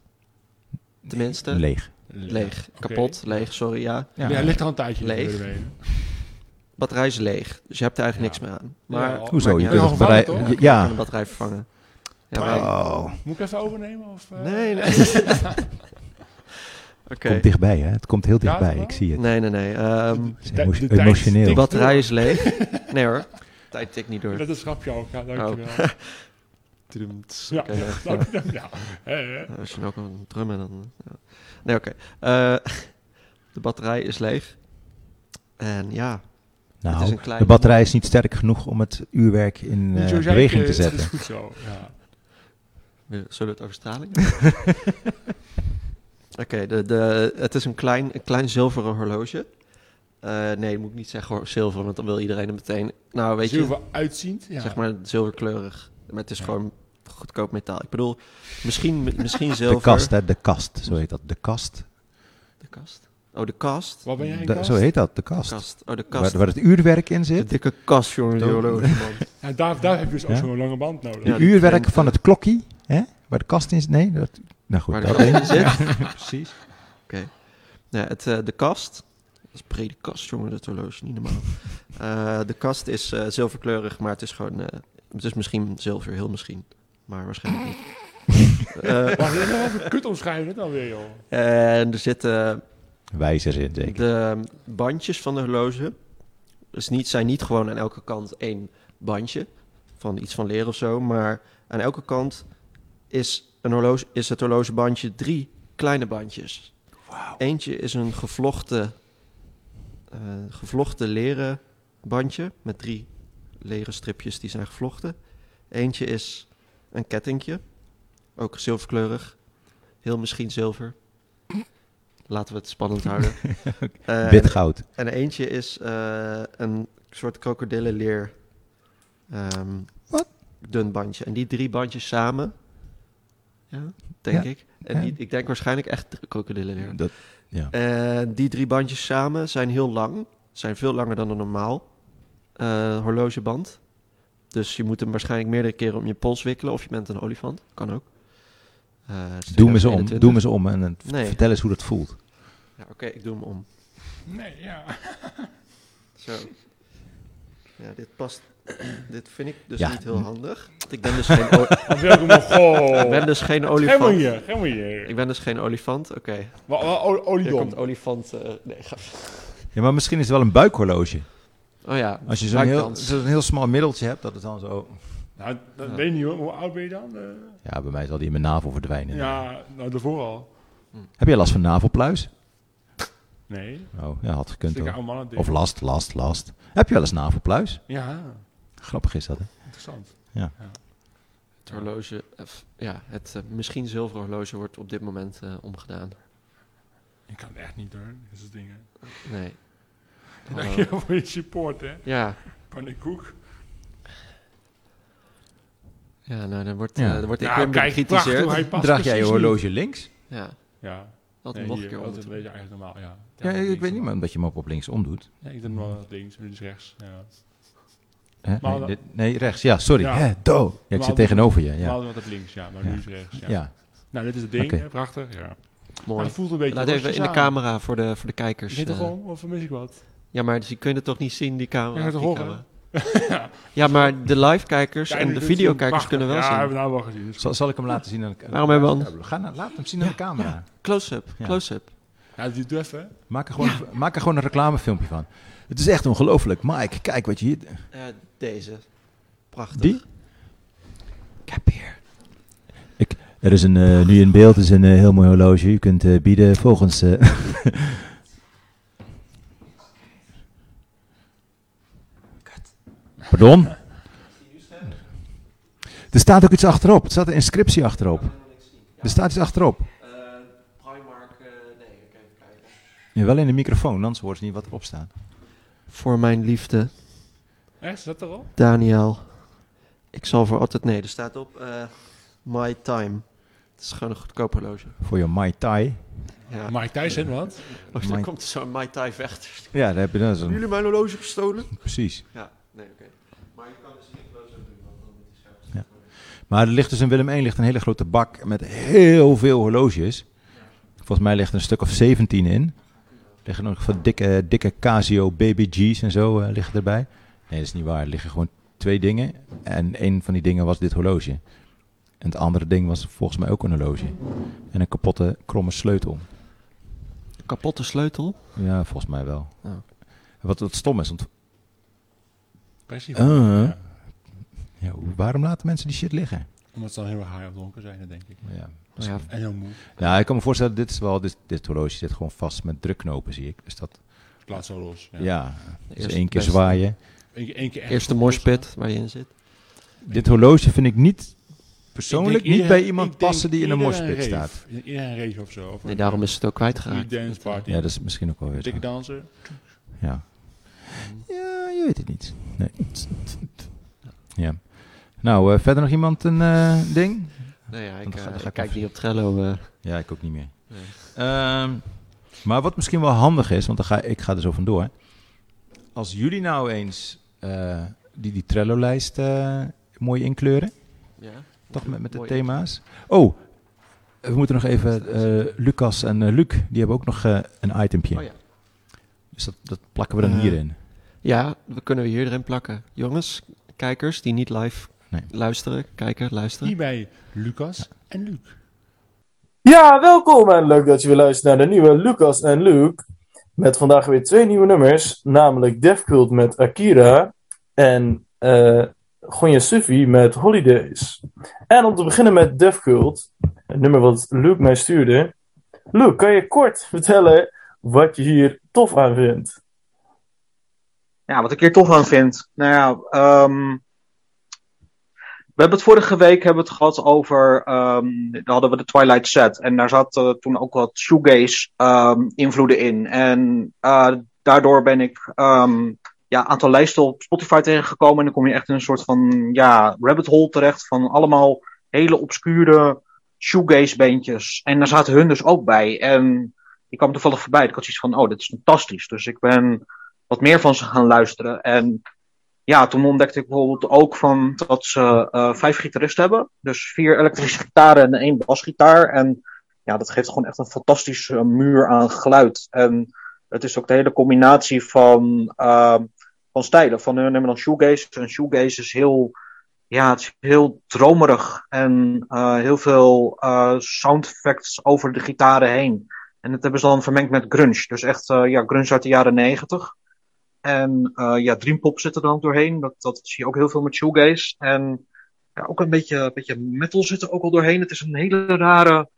[SPEAKER 1] Tenminste, leeg.
[SPEAKER 4] Leeg.
[SPEAKER 3] Oké.
[SPEAKER 1] Kapot, leeg, sorry, ja.
[SPEAKER 3] Ja,
[SPEAKER 4] Ja.
[SPEAKER 3] ligt al een tijdje.
[SPEAKER 1] Leeg.
[SPEAKER 3] ermee.
[SPEAKER 1] batterij is leeg, dus je hebt er eigenlijk
[SPEAKER 3] Ja.
[SPEAKER 1] niks meer aan. Maar
[SPEAKER 3] Ja.
[SPEAKER 4] Hoezo?
[SPEAKER 1] Maakt
[SPEAKER 4] Je
[SPEAKER 1] niet
[SPEAKER 4] kunt
[SPEAKER 1] uit.
[SPEAKER 3] Ja,
[SPEAKER 4] het bereik-
[SPEAKER 3] toch?
[SPEAKER 4] Ja,
[SPEAKER 1] Je kan
[SPEAKER 4] ja.
[SPEAKER 1] de batterij vervangen. Ja,
[SPEAKER 3] Maar-
[SPEAKER 1] maar-
[SPEAKER 4] Oh,
[SPEAKER 3] Moet ik even overnemen? Of, eh?
[SPEAKER 1] Nee, nee. <laughs> Oké.
[SPEAKER 4] komt dichtbij, hè? Het komt heel
[SPEAKER 3] Ja,
[SPEAKER 4] dichtbij.
[SPEAKER 3] wel?
[SPEAKER 4] Ik zie het.
[SPEAKER 1] Nee, nee, nee. ehm,
[SPEAKER 4] Het is
[SPEAKER 3] De- de
[SPEAKER 4] emo-
[SPEAKER 3] tijd
[SPEAKER 1] de
[SPEAKER 4] emotioneel.
[SPEAKER 3] stikt.
[SPEAKER 1] batterij is leeg. Nee hoor. Tijd tikt niet door.
[SPEAKER 3] Dat is een grapje ook, ja, dankjewel.
[SPEAKER 1] <laughs> Trumts.
[SPEAKER 3] Ja,
[SPEAKER 1] Oh. Oké, ja.
[SPEAKER 3] dank- ja. Hè, hè.
[SPEAKER 1] Ja, Als je nou kan drummen dan... ja. Nee, oké. Eh, <laughs> de batterij is leeg. En ja, het is
[SPEAKER 4] Nou,
[SPEAKER 1] een klein...
[SPEAKER 4] de batterij is niet sterk genoeg om het uurwerk in
[SPEAKER 3] Niet
[SPEAKER 4] eh,
[SPEAKER 3] zo zeiken,
[SPEAKER 4] beweging te
[SPEAKER 3] Dat is
[SPEAKER 4] zetten.
[SPEAKER 3] goed zo, ja.
[SPEAKER 1] Zullen we het over straling hebben? Oké, de, de, het is een klein, een klein zilveren horloge. Eh, nee, moet ik niet zeggen hoor, zilver, want dan wil iedereen het meteen... Nou, weet je,
[SPEAKER 3] Zullen we uitziend? Ja.
[SPEAKER 1] zeg maar zilverkleurig. Maar het is
[SPEAKER 3] Ja.
[SPEAKER 1] gewoon goedkoop metaal. Ik bedoel, misschien, misschien zilver...
[SPEAKER 4] De kast, hè? De kast. Zo heet dat. De kast.
[SPEAKER 1] De kast? Oh, de kast.
[SPEAKER 3] Wat ben jij? een
[SPEAKER 4] Da-
[SPEAKER 3] kast?
[SPEAKER 4] zo heet dat. De
[SPEAKER 1] De
[SPEAKER 4] kast.
[SPEAKER 1] kast. Oh, de
[SPEAKER 4] Waar,
[SPEAKER 1] kast.
[SPEAKER 4] waar het uurwerk in
[SPEAKER 1] de
[SPEAKER 4] zit.
[SPEAKER 1] dikke kast, jongen. die
[SPEAKER 4] Doe-
[SPEAKER 1] horloge, <laughs> man.
[SPEAKER 3] Ja, daar, daar heb je dus ook
[SPEAKER 4] Ja?
[SPEAKER 3] zo'n lange band nodig.
[SPEAKER 1] Ja,
[SPEAKER 4] Het
[SPEAKER 1] die
[SPEAKER 4] uurwerk
[SPEAKER 1] klinkt,
[SPEAKER 4] van
[SPEAKER 1] eh,
[SPEAKER 4] het klokkie. Hè? Waar de kast in zit. Nee, dat... Nou goed,
[SPEAKER 1] Waar de
[SPEAKER 4] dat
[SPEAKER 1] kast in
[SPEAKER 4] ding.
[SPEAKER 1] zit. <laughs>
[SPEAKER 4] precies.
[SPEAKER 1] Ja, het, eh, de kast. Dat is een brede kast, jongen. Dat horloge is niet <laughs> normaal. Eh, de kast is eh, zilverkleurig, maar het is gewoon... eh, het is misschien zilver, heel misschien. Maar waarschijnlijk <laughs> niet. Eh,
[SPEAKER 3] Maar dit is wel even kut omschrijven dit dan weer, joh.
[SPEAKER 1] en er zitten
[SPEAKER 4] Wijzers in, zeker.
[SPEAKER 1] de bandjes van de horloge. Dus niet, zijn niet gewoon aan elke kant één bandje. Van iets van leren of zo. Maar aan elke kant is, een horloge, is het horlogebandje drie kleine bandjes.
[SPEAKER 4] Wauw.
[SPEAKER 1] Eentje is een gevlochten, eh, gevlochten leren bandje met drie leren stripjes die zijn gevlochten. Eentje is een kettingje, ook zilverkleurig, heel misschien zilver. Laten we het spannend
[SPEAKER 4] <laughs>
[SPEAKER 1] houden. Eh,
[SPEAKER 4] Wit
[SPEAKER 1] en-
[SPEAKER 4] goud.
[SPEAKER 1] en eentje is eh, een soort krokodillenleer. ehm,
[SPEAKER 4] Wat?
[SPEAKER 1] Dun bandje. En die drie bandjes samen. Ja, denk
[SPEAKER 4] Ja,
[SPEAKER 1] ik. En
[SPEAKER 4] ja.
[SPEAKER 1] Die, ik denk waarschijnlijk echt krokodillenleer.
[SPEAKER 4] Dat, ja.
[SPEAKER 1] En die drie bandjes samen zijn heel lang. Zijn veel langer dan een normaal eh, horlogeband. Dus je moet hem waarschijnlijk meerdere keren om je pols wikkelen. Of je bent een olifant. Kan ook. Eh, het is
[SPEAKER 4] Doe me ze om.
[SPEAKER 1] 2021.
[SPEAKER 4] Doe me ze om. En, en
[SPEAKER 1] Nee.
[SPEAKER 4] vertel eens hoe dat voelt.
[SPEAKER 1] Ja, Oké, ik doe hem om.
[SPEAKER 3] Nee, ja.
[SPEAKER 1] Zo. Ja, dit past. Dit vind ik dus
[SPEAKER 4] Ja.
[SPEAKER 1] niet heel handig. Want ik ben dus geen, <laughs> o-
[SPEAKER 3] Of welkom nog, goh.
[SPEAKER 1] ik ben dus geen
[SPEAKER 3] Helemaal
[SPEAKER 1] olifant.
[SPEAKER 3] hier, helemaal hier.
[SPEAKER 1] Ik ben dus geen olifant. Oké.
[SPEAKER 3] Wel- wel o-
[SPEAKER 1] Hier
[SPEAKER 3] Oliedom.
[SPEAKER 1] komt olifant. eh, nee, ga-
[SPEAKER 4] Ja, maar misschien is het wel een buikhorloge.
[SPEAKER 1] Oh ja.
[SPEAKER 4] Als je zo'n heel,
[SPEAKER 1] buikkans.
[SPEAKER 4] zo'n heel smal middeltje hebt, dat het dan zo...
[SPEAKER 3] Nou, dat
[SPEAKER 1] Ja.
[SPEAKER 3] weet ik niet hoor. Hoe oud ben je dan? Eh,
[SPEAKER 4] Ja, bij mij zal die in mijn navel verdwijnen.
[SPEAKER 3] ja, nou daarvoor al.
[SPEAKER 4] Heb jij last van navelpluis?
[SPEAKER 3] Nee.
[SPEAKER 4] Oh, ja, had gekund
[SPEAKER 3] Stikke
[SPEAKER 4] hoor.
[SPEAKER 3] oude mannen ding.
[SPEAKER 4] Of last, last, last. Heb je wel eens navelpluis?
[SPEAKER 3] Ja,
[SPEAKER 4] Grappig is dat, hè?
[SPEAKER 3] interessant.
[SPEAKER 1] Het horloge. eh, f- ja, het eh, misschien zilveren horloge wordt op dit moment eh, omgedaan.
[SPEAKER 3] Ik kan het echt niet hoor, dit soort dingen.
[SPEAKER 1] Nee. Hallo.
[SPEAKER 3] Dank je wel voor je support, hè.
[SPEAKER 1] Ja.
[SPEAKER 3] Pannenkoek.
[SPEAKER 1] Ja, nou, dan wordt,
[SPEAKER 4] Ja.
[SPEAKER 1] eh, dan wordt ik
[SPEAKER 3] Nou,
[SPEAKER 1] weer
[SPEAKER 3] prachtig hoe
[SPEAKER 1] bekritiseerd.
[SPEAKER 3] hij past
[SPEAKER 4] Draag jij je
[SPEAKER 3] precies
[SPEAKER 4] horloge links?
[SPEAKER 1] Ja.
[SPEAKER 3] niet. Ja.
[SPEAKER 1] Dat
[SPEAKER 3] Nee,
[SPEAKER 1] nog
[SPEAKER 3] hier,
[SPEAKER 1] een keer
[SPEAKER 3] dat is
[SPEAKER 1] om.
[SPEAKER 3] een beetje eigenlijk normaal, ja.
[SPEAKER 4] Ja,
[SPEAKER 3] links
[SPEAKER 4] ik weet niet,
[SPEAKER 3] normaal.
[SPEAKER 4] maar omdat je hem ook op links omdoet.
[SPEAKER 3] Ja, ik doe hem wel links, nu is rechts. Ja.
[SPEAKER 4] Hè?
[SPEAKER 3] Maar
[SPEAKER 4] Nee,
[SPEAKER 3] dan-
[SPEAKER 4] dit- nee, rechts. Ja, sorry.
[SPEAKER 3] Ja.
[SPEAKER 4] Hè, do. Ja, ik
[SPEAKER 3] Maar
[SPEAKER 4] zit
[SPEAKER 3] dan-
[SPEAKER 4] tegenover je.
[SPEAKER 3] We
[SPEAKER 4] Ja.
[SPEAKER 3] hadden wat het links, ja, maar
[SPEAKER 4] Ja.
[SPEAKER 3] nu is het rechts. Ja.
[SPEAKER 4] Ja.
[SPEAKER 3] Nou, dit is het ding,
[SPEAKER 4] Oké.
[SPEAKER 3] hè, prachtig. Ja. Maar
[SPEAKER 1] Mooi.
[SPEAKER 3] het voelt een beetje
[SPEAKER 1] Laat even in de
[SPEAKER 3] kamer.
[SPEAKER 1] camera voor de, voor de kijkers.
[SPEAKER 3] Zit er
[SPEAKER 1] eh,
[SPEAKER 3] gewoon, of mis ik wat?
[SPEAKER 1] ja, maar dus ze kunnen toch niet zien, die camera?
[SPEAKER 3] Ja, maar te
[SPEAKER 1] die
[SPEAKER 3] horen.
[SPEAKER 1] camera. ja, maar de live-kijkers
[SPEAKER 3] Ja,
[SPEAKER 1] en de
[SPEAKER 3] dat zien.
[SPEAKER 1] videokijkers
[SPEAKER 3] Prachtig.
[SPEAKER 1] kunnen wel
[SPEAKER 3] ja,
[SPEAKER 1] zien.
[SPEAKER 3] hebben we nou wel gezien. Dus-
[SPEAKER 4] Zal, zal ik hem laten zien aan <laughs> de
[SPEAKER 1] Waarom hebben we
[SPEAKER 4] Ja, Ga nou, laat hem zien aan de camera.
[SPEAKER 1] Close-up,
[SPEAKER 4] Ja.
[SPEAKER 1] close-up.
[SPEAKER 3] Ja, doe doe even.
[SPEAKER 4] Maak er, gewoon, maak er gewoon een reclamefilmpje van. Het is echt ongelooflijk. Mike, kijk wat je hier...
[SPEAKER 1] Eh, deze. Prachtig.
[SPEAKER 4] Die?
[SPEAKER 1] Ik heb hier.
[SPEAKER 4] Er is een, eh, nu in beeld is een eh, heel mooi horloge. Je kunt eh, bieden volgens... eh, <laughs> Pardon? Er staat ook iets achterop. Er staat een inscriptie achterop. Er staat iets achterop.
[SPEAKER 1] Eh, Primark, eh, nee, ik even kijken.
[SPEAKER 4] Ja, wel in de microfoon, anders hoort ze niet wat erop staat.
[SPEAKER 1] Voor mijn liefde,
[SPEAKER 3] Echt, zat er al?
[SPEAKER 1] Daniel. Ik zal voor altijd... Nee, er staat op eh, My Time. Het is gewoon een goedkoop horloge.
[SPEAKER 4] Voor je Mai Tai.
[SPEAKER 1] Ja.
[SPEAKER 3] Mike Tyson, wat?
[SPEAKER 1] Oh,
[SPEAKER 4] My-
[SPEAKER 1] dan komt zo'n My Thai vechter.
[SPEAKER 4] Ja, daar heb je dat. Zo
[SPEAKER 1] jullie mijn horloge gestolen?
[SPEAKER 4] precies.
[SPEAKER 1] Ja, nee, oké. Maar je kan dus niet close doen, want dan moet je
[SPEAKER 4] Ja. Maar er ligt dus in Willem 1 ligt een hele grote bak met heel veel horloges. Volgens mij ligt er een stuk of 17 in. Er liggen nog van dikke, dikke Casio BBG's en zo eh, liggen erbij. Nee, dat is niet waar. Er liggen gewoon twee dingen. En een van die dingen was dit horloge. En het andere ding was volgens mij ook een horloge. En een kapotte kromme sleutel.
[SPEAKER 1] Kapotte sleutel?
[SPEAKER 4] Ja, volgens mij wel.
[SPEAKER 1] Oh.
[SPEAKER 4] Wat, wat stom is, want
[SPEAKER 3] Pressie.
[SPEAKER 4] Eh.
[SPEAKER 1] Uh-huh.
[SPEAKER 3] Ja.
[SPEAKER 4] ja, hoe- waarom laten mensen die shit liggen?
[SPEAKER 3] Omdat ze dan heel erg high of donker zijn, denk ik.
[SPEAKER 4] Ja,
[SPEAKER 1] Nou Ja,
[SPEAKER 4] misschien.
[SPEAKER 3] En heel moe.
[SPEAKER 4] Ja, ik kan me voorstellen, dit, is wel, dit, dit horloge zit gewoon vast met drukknopen, zie ik. Dus dat,
[SPEAKER 3] Het Laat zo los.
[SPEAKER 4] ja,
[SPEAKER 3] Ja. Eén
[SPEAKER 4] dus
[SPEAKER 1] Eerst
[SPEAKER 4] één keer
[SPEAKER 1] best-
[SPEAKER 4] zwaaien.
[SPEAKER 3] keer- één keer echt
[SPEAKER 1] Eerste
[SPEAKER 3] goed
[SPEAKER 1] morspit waar je in zit.
[SPEAKER 4] Dit horloge vind ik niet,
[SPEAKER 3] loslaten.
[SPEAKER 4] persoonlijk,
[SPEAKER 3] Ik denk
[SPEAKER 4] niet bij
[SPEAKER 3] iedereen-
[SPEAKER 4] iemand
[SPEAKER 3] ik denk
[SPEAKER 4] passen die in een
[SPEAKER 3] iedereen
[SPEAKER 4] morspit
[SPEAKER 3] rave.
[SPEAKER 4] staat.
[SPEAKER 3] Ik denk Iedereen een rave of zo. Of
[SPEAKER 1] Nee,
[SPEAKER 3] een
[SPEAKER 1] daarom is het ook
[SPEAKER 3] street
[SPEAKER 1] kwijtgeraakt.
[SPEAKER 3] dance party.
[SPEAKER 4] Ja, dat is misschien ook wel weer zo.
[SPEAKER 3] Dikke danser.
[SPEAKER 4] Ja. ja, je weet het niet. Nee. Ja. Nou, eh, verder nog iemand een eh, ding?
[SPEAKER 1] Nee, ja,
[SPEAKER 4] Dan
[SPEAKER 1] ik,
[SPEAKER 4] ga-
[SPEAKER 1] eh,
[SPEAKER 4] dan ga
[SPEAKER 1] ik
[SPEAKER 4] ik
[SPEAKER 1] kijk
[SPEAKER 4] even-
[SPEAKER 1] niet op Trello. eh.
[SPEAKER 4] Ja, ik ook niet meer.
[SPEAKER 1] Nee.
[SPEAKER 4] Ehm, maar wat misschien wel handig is, want dan ga, ik ga er zo vandoor. Als jullie nou eens eh, die, die Trello-lijst eh, mooi inkleuren,
[SPEAKER 1] ja.
[SPEAKER 4] toch met, met de
[SPEAKER 1] Mooi.
[SPEAKER 4] thema's. Oh, we moeten nog even, eh, Lucas en eh, Luc, die hebben ook nog eh, een itempje.
[SPEAKER 1] Oh ja.
[SPEAKER 4] Dus dat, dat plakken we dan
[SPEAKER 1] Eh,
[SPEAKER 4] hierin.
[SPEAKER 1] Ja, we kunnen we hier erin plakken. Jongens, kijkers die niet live
[SPEAKER 4] Nee.
[SPEAKER 1] luisteren, kijken, luisteren.
[SPEAKER 3] Hierbij Lucas en Luc.
[SPEAKER 2] Ja, welkom en leuk dat je weer luistert naar de nieuwe Lucas en Luke. Met vandaag weer twee nieuwe nummers, namelijk Defcult met Akira en eh Gonja Sufi met Holidays. En om te beginnen met Defcult, het nummer wat Luke mij stuurde. Luke, kan je kort <laughs> vertellen wat je hier tof aan vindt?
[SPEAKER 5] Ja, wat ik hier tof aan vind. Nou ja, ehm, we hebben het vorige week hebben we het gehad over. ehm daar hadden we de Twilight Set. En daar zat eh, toen ook wat shoegaze-invloeden in. En eh, daardoor ben ik ehm ja, een aantal lijsten op Spotify tegengekomen. En dan kom je echt in een soort van ja, rabbit hole terecht. Van allemaal hele obscure shoegaze-bandjes. En daar zaten hun dus ook bij. En die kwam toevallig voorbij. Ik had zoiets van: oh, dit is fantastisch. Dus ik ben wat meer van ze gaan luisteren. En ja, toen ontdekte ik bijvoorbeeld ook van dat ze eh, vijf gitaristen hebben. Dus vier elektrische gitaren en één basgitaar. En ja, dat geeft gewoon echt een fantastische muur aan geluid. En het is ook de hele combinatie van, ehm, van stijlen. Van hun hebben dan shoegaze. En shoegaze is heel, ja, het is heel dromerig. En eh, heel veel eh, sound effects over de gitaren heen. En dat hebben ze dan vermengd met grunge. Dus echt eh, ja, grunge uit de jaren negentig. En eh, ja, Dreampop zit er dan ook doorheen. Dat, dat zie je ook heel veel met shoegaze. En ja, ook een beetje, een beetje metal zit er ook al doorheen. Het is een hele rare,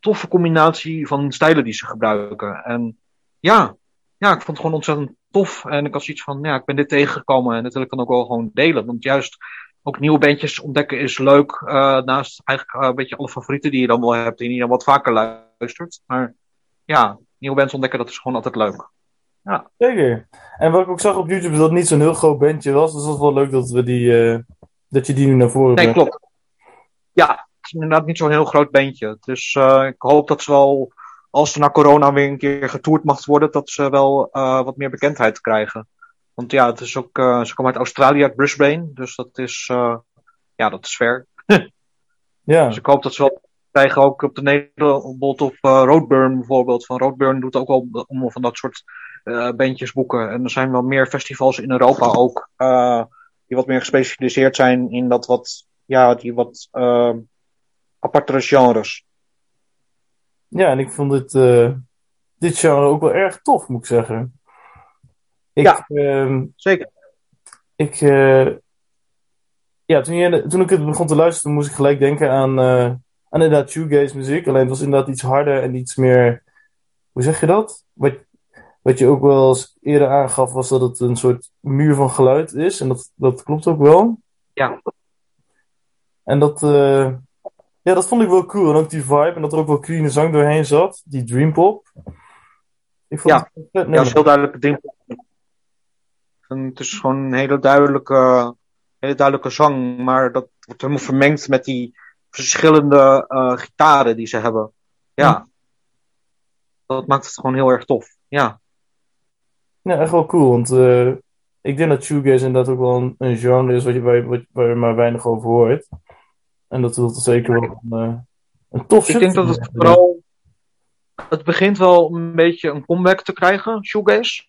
[SPEAKER 5] toffe combinatie van stijlen die ze gebruiken. En ja, ja, ik vond het gewoon ontzettend tof. En ik had zoiets van, ja, ik ben dit tegengekomen en dat wil ik dan ook wel gewoon delen. Want juist ook nieuwe bandjes ontdekken is leuk. eh, naast eigenlijk eh, een beetje alle favorieten die je dan wel hebt en die je dan wat vaker luistert. Maar ja, nieuwe bands ontdekken, dat is gewoon altijd leuk.
[SPEAKER 2] Zeker. En wat ik ook zag op YouTube is dat het niet zo'n heel groot bandje was, dus dat is wel leuk dat, we die, eh, dat je die nu naar voren
[SPEAKER 5] Nee,
[SPEAKER 2] brengt.
[SPEAKER 5] klopt. Ja, het is inderdaad niet zo'n heel groot bandje. Dus eh, ik hoop dat ze wel, als er na corona weer een keer getoerd mag worden, dat ze wel eh, wat meer bekendheid krijgen. Want ja, het is ook, eh, ze komen uit Australië, uit Brisbane. Dus dat is, eh, ja, dat is ver.
[SPEAKER 2] Ja,
[SPEAKER 5] Dus ik hoop dat ze wel krijgen ook op de Nederland, bijvoorbeeld op eh, Roadburn bijvoorbeeld. Van Roadburn doet ook wel allemaal van dat soort eh bandjes boeken. En er zijn wel meer festivals in Europa ook, eh, die wat meer gespecialiseerd zijn in dat wat, ja, die wat eh, apartere genres.
[SPEAKER 2] ja en ik vond dit, eh, dit genre ook wel erg tof, moet ik zeggen. Ik,
[SPEAKER 5] Ja.
[SPEAKER 2] ehm,
[SPEAKER 5] Zeker.
[SPEAKER 2] ik, eh, ja, toen, jij- toen ik het begon te luisteren, moest ik gelijk denken aan, eh, aan inderdaad shoegaze muziek. Alleen het was inderdaad iets harder en iets meer, hoe zeg je dat? Wat, wat je ook wel eens eerder aangaf, was dat het een soort muur van geluid is. En dat, dat klopt ook wel.
[SPEAKER 5] Ja.
[SPEAKER 2] En dat, eh, ja, dat vond ik wel cool. En ook die vibe en dat er ook wel clean zang doorheen zat. Die dreampop. Ik vond
[SPEAKER 5] Ja.
[SPEAKER 2] het wel vet
[SPEAKER 5] ja, dat
[SPEAKER 2] nummer.
[SPEAKER 5] is heel duidelijk het ding. En het is gewoon een hele duidelijke, hele duidelijke zang, maar dat wordt helemaal vermengd met die verschillende eh, gitaren die ze hebben. Ja. Dat maakt het gewoon heel erg tof. Ja.
[SPEAKER 2] Ja, echt wel cool, want eh, ik denk dat shoegaze inderdaad ook wel een, een genre is wat je, waar, wat, waar je maar weinig over hoort. En dat dat zeker wel een, eh, een tof
[SPEAKER 5] Ik denk dat het vooral. Het begint wel een beetje een comeback te krijgen, shoegaze.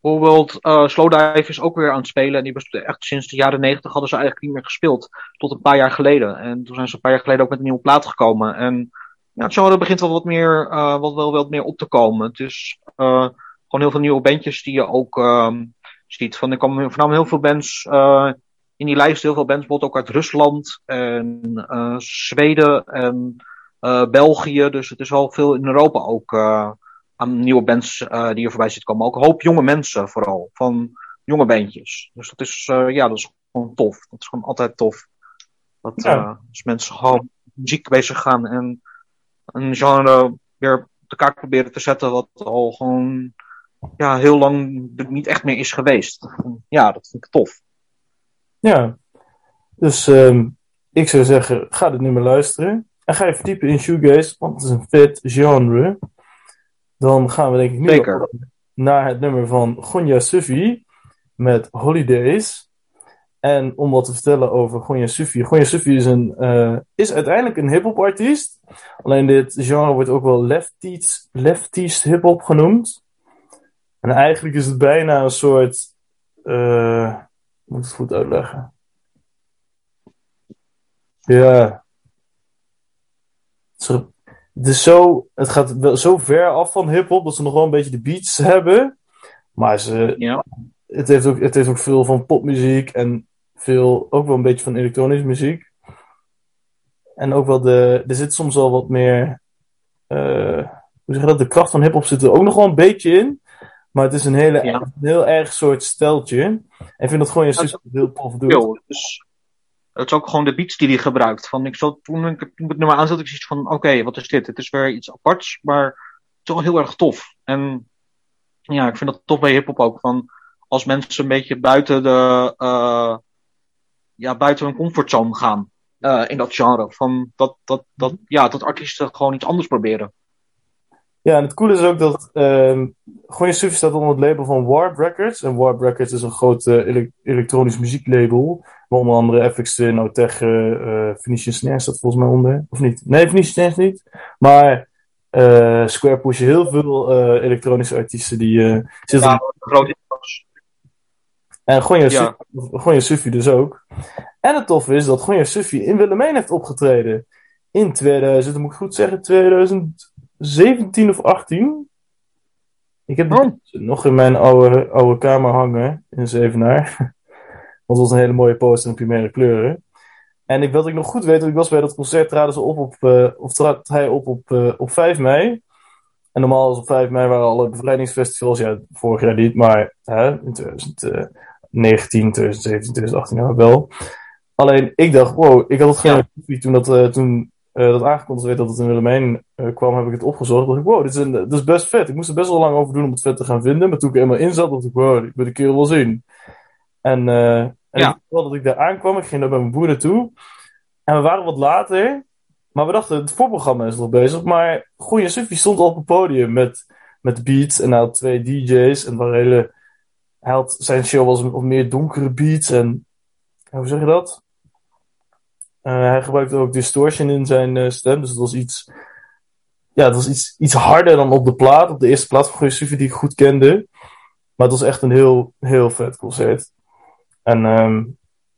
[SPEAKER 5] Bijvoorbeeld, eh Slowdive is ook weer aan het spelen. En die best- echt sinds de jaren negentig hadden ze eigenlijk niet meer gespeeld. Tot een paar jaar geleden. En toen zijn ze een paar jaar geleden ook met een nieuwe plaat gekomen. En ja, het genre begint wel wat meer, eh, wat wel, wat meer op te komen. Het is eh, gewoon heel veel nieuwe bandjes die je ook ehm, ziet. Van, er komen voornamelijk heel veel bands eh, in die lijst. Heel veel bands, bijvoorbeeld ook uit Rusland en eh, Zweden en eh, België. Dus het is wel veel in Europa ook eh, aan nieuwe bands eh, die er voorbij zitten komen. Ook een hoop jonge mensen vooral, van jonge bandjes. Dus dat is, eh, ja, dat is gewoon tof. Dat is gewoon altijd tof. Dat
[SPEAKER 2] Ja.
[SPEAKER 5] eh, als mensen gewoon met muziek bezig gaan en een genre weer op de kaart proberen te zetten wat al gewoon ja, heel lang er niet echt meer is geweest. Ja, dat vind ik tof.
[SPEAKER 2] Ja, dus ehm, ik zou zeggen, ga dit nummer luisteren. En ga je verdiepen in shoegaze, want het is een vet genre. Dan gaan we denk ik nu
[SPEAKER 5] Zeker.
[SPEAKER 2] naar het nummer van Gonja Sufi met Holidays. En om wat te vertellen over Gonja Sufi. Gonja Sufi is, een, eh, is uiteindelijk een hip-hop artiest. Alleen dit genre wordt ook wel lefties, lefties hip-hop genoemd. En eigenlijk is het bijna een soort. eh, moet ik het goed uitleggen? Ja. Het is- Het, is zo, het gaat wel zo ver af van hip-hop dat ze nog wel een beetje de beats hebben. Maar ze,
[SPEAKER 5] Ja.
[SPEAKER 2] het heeft, ook, het heeft ook veel van popmuziek en veel, ook wel een beetje van elektronische muziek. En ook wel de, er zit soms wel wat meer, eh, hoe zeg je dat, de kracht van hip-hop zit er ook nog wel een beetje in. Maar het is een, hele,
[SPEAKER 5] Ja.
[SPEAKER 2] een heel erg soort steltje. En ik vind dat gewoon je
[SPEAKER 5] Dat is
[SPEAKER 2] super heel tof doet.
[SPEAKER 5] veel. Dus het is ook gewoon de beats die hij gebruikt. Van, ik zat, toen, ik, toen ik het nummer aanzet, ik zoiets van: oké, wat is dit? Het is weer iets aparts, maar het is wel heel erg tof. En ja, ik vind dat tof bij hip-hop ook. Van, als mensen een beetje buiten, de, eh, ja, buiten hun comfortzone gaan eh, in dat genre. Van dat, dat, dat, ja, dat artiesten gewoon iets anders proberen.
[SPEAKER 2] Ja, en het coole is ook dat ehm Goeie Sufi staat onder het label van Warp Records. En Warp Records is een groot eh, ele- elektronisch muzieklabel. Waar onder andere FX Twin, Otech, eh eh Phoenician Snares staat volgens mij onder. Of niet? Nee, Phoenician Snares niet. Maar eh, Square pushen heel veel eh, elektronische artiesten die eh, zitten.
[SPEAKER 5] Ja, groot influence.
[SPEAKER 2] En Goeie
[SPEAKER 5] Ja.
[SPEAKER 2] Sufi- Goeie Sufi dus ook. En het toffe is dat Goeie Sufi in Willemijn heeft opgetreden. In 2000, dan moet ik goed zeggen, 2017 of 18. Ik heb de
[SPEAKER 5] Oh,
[SPEAKER 2] zit nog in mijn oude, oude kamer hangen in Zevenaar. <laughs> Want het was een hele mooie poster in primaire kleuren. En ik, wat ik nog goed weet, want ik was bij dat concert, traden ze op op, eh, of trad hij op op, eh, op 5 mei. En normaal is op 5 mei waren alle bevrijdingsfestivals, ja, vorig jaar niet, maar hè, in eh, 2019, 2017, 2018 nou wel. Alleen ik dacht, wow, ik had het gewoon toen dat, eh, toen, eh, dat aangekondigd werd dat het in Willemijn eh, kwam, heb ik het opgezocht. Dacht ik, wow, dit is, een, eh, dit is best vet. Ik moest er best wel lang over doen om het vet te gaan vinden. Maar toen ik er eenmaal in zat, dacht ik, wow, ik wil de kerel wel zien. En, eh en ik
[SPEAKER 5] Ja.
[SPEAKER 2] weet wel dat ik daar aankwam. Ik ging daar bij mijn broer naartoe. En we waren wat later. Maar we dachten, het voorprogramma is nog bezig. Maar Goeie Sufi stond al op het podium met, met beats. En nou twee DJ's. En het waren hele hij had, zijn show was op meer donkere beats en... Hoe zeg je dat? Eh, hij gebruikte ook distortion in zijn eh, stem, dus het was iets... Ja, het was iets, iets harder dan op de plaat, op de eerste plaat van Gustave die ik goed kende. Maar het was echt een heel, heel vet concert. En ehm,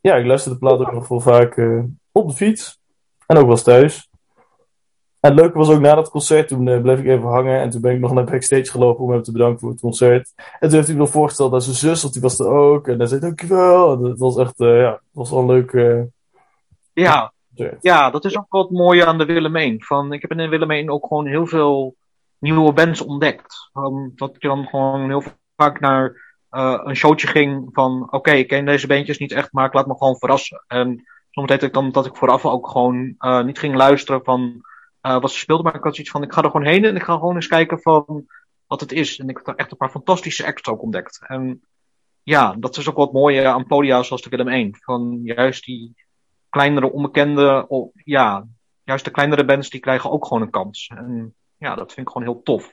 [SPEAKER 2] ja, ik luister de plaat ook nog wel vaak eh, op de fiets. En ook wel eens thuis. En het leuke was ook na dat concert, toen eh, bleef ik even hangen. En toen ben ik nog naar backstage gelopen om hem te bedanken voor het concert. En toen heeft hij me nog voorgesteld aan zijn zus, want die was er ook. En hij zei dankjewel. En het was echt, eh, ja, het was wel een leuk eh,
[SPEAKER 5] Ja,
[SPEAKER 2] concert.
[SPEAKER 5] ja, dat is ook wat mooie aan de Willemijn. Van, ik heb in de Willemijn ook gewoon heel veel nieuwe bands ontdekt. Van, dat je dan gewoon heel vaak naar eh, een showtje ging van... Oké, ik ken deze bandjes niet echt, maar ik laat me gewoon verrassen. En soms deed ik dan dat ik vooraf ook gewoon eh, niet ging luisteren van eh, wat ze speelden. Maar ik had zoiets van, ik ga er gewoon heen en ik ga gewoon eens kijken van wat het is. En ik heb daar echt een paar fantastische acts ook ontdekt. En ja, dat is ook wat mooie aan podia zoals de Willem I. Van juist die kleinere onbekende, o- ja, juist de kleinere bands die krijgen ook gewoon een kans. En ja, dat vind ik gewoon heel tof.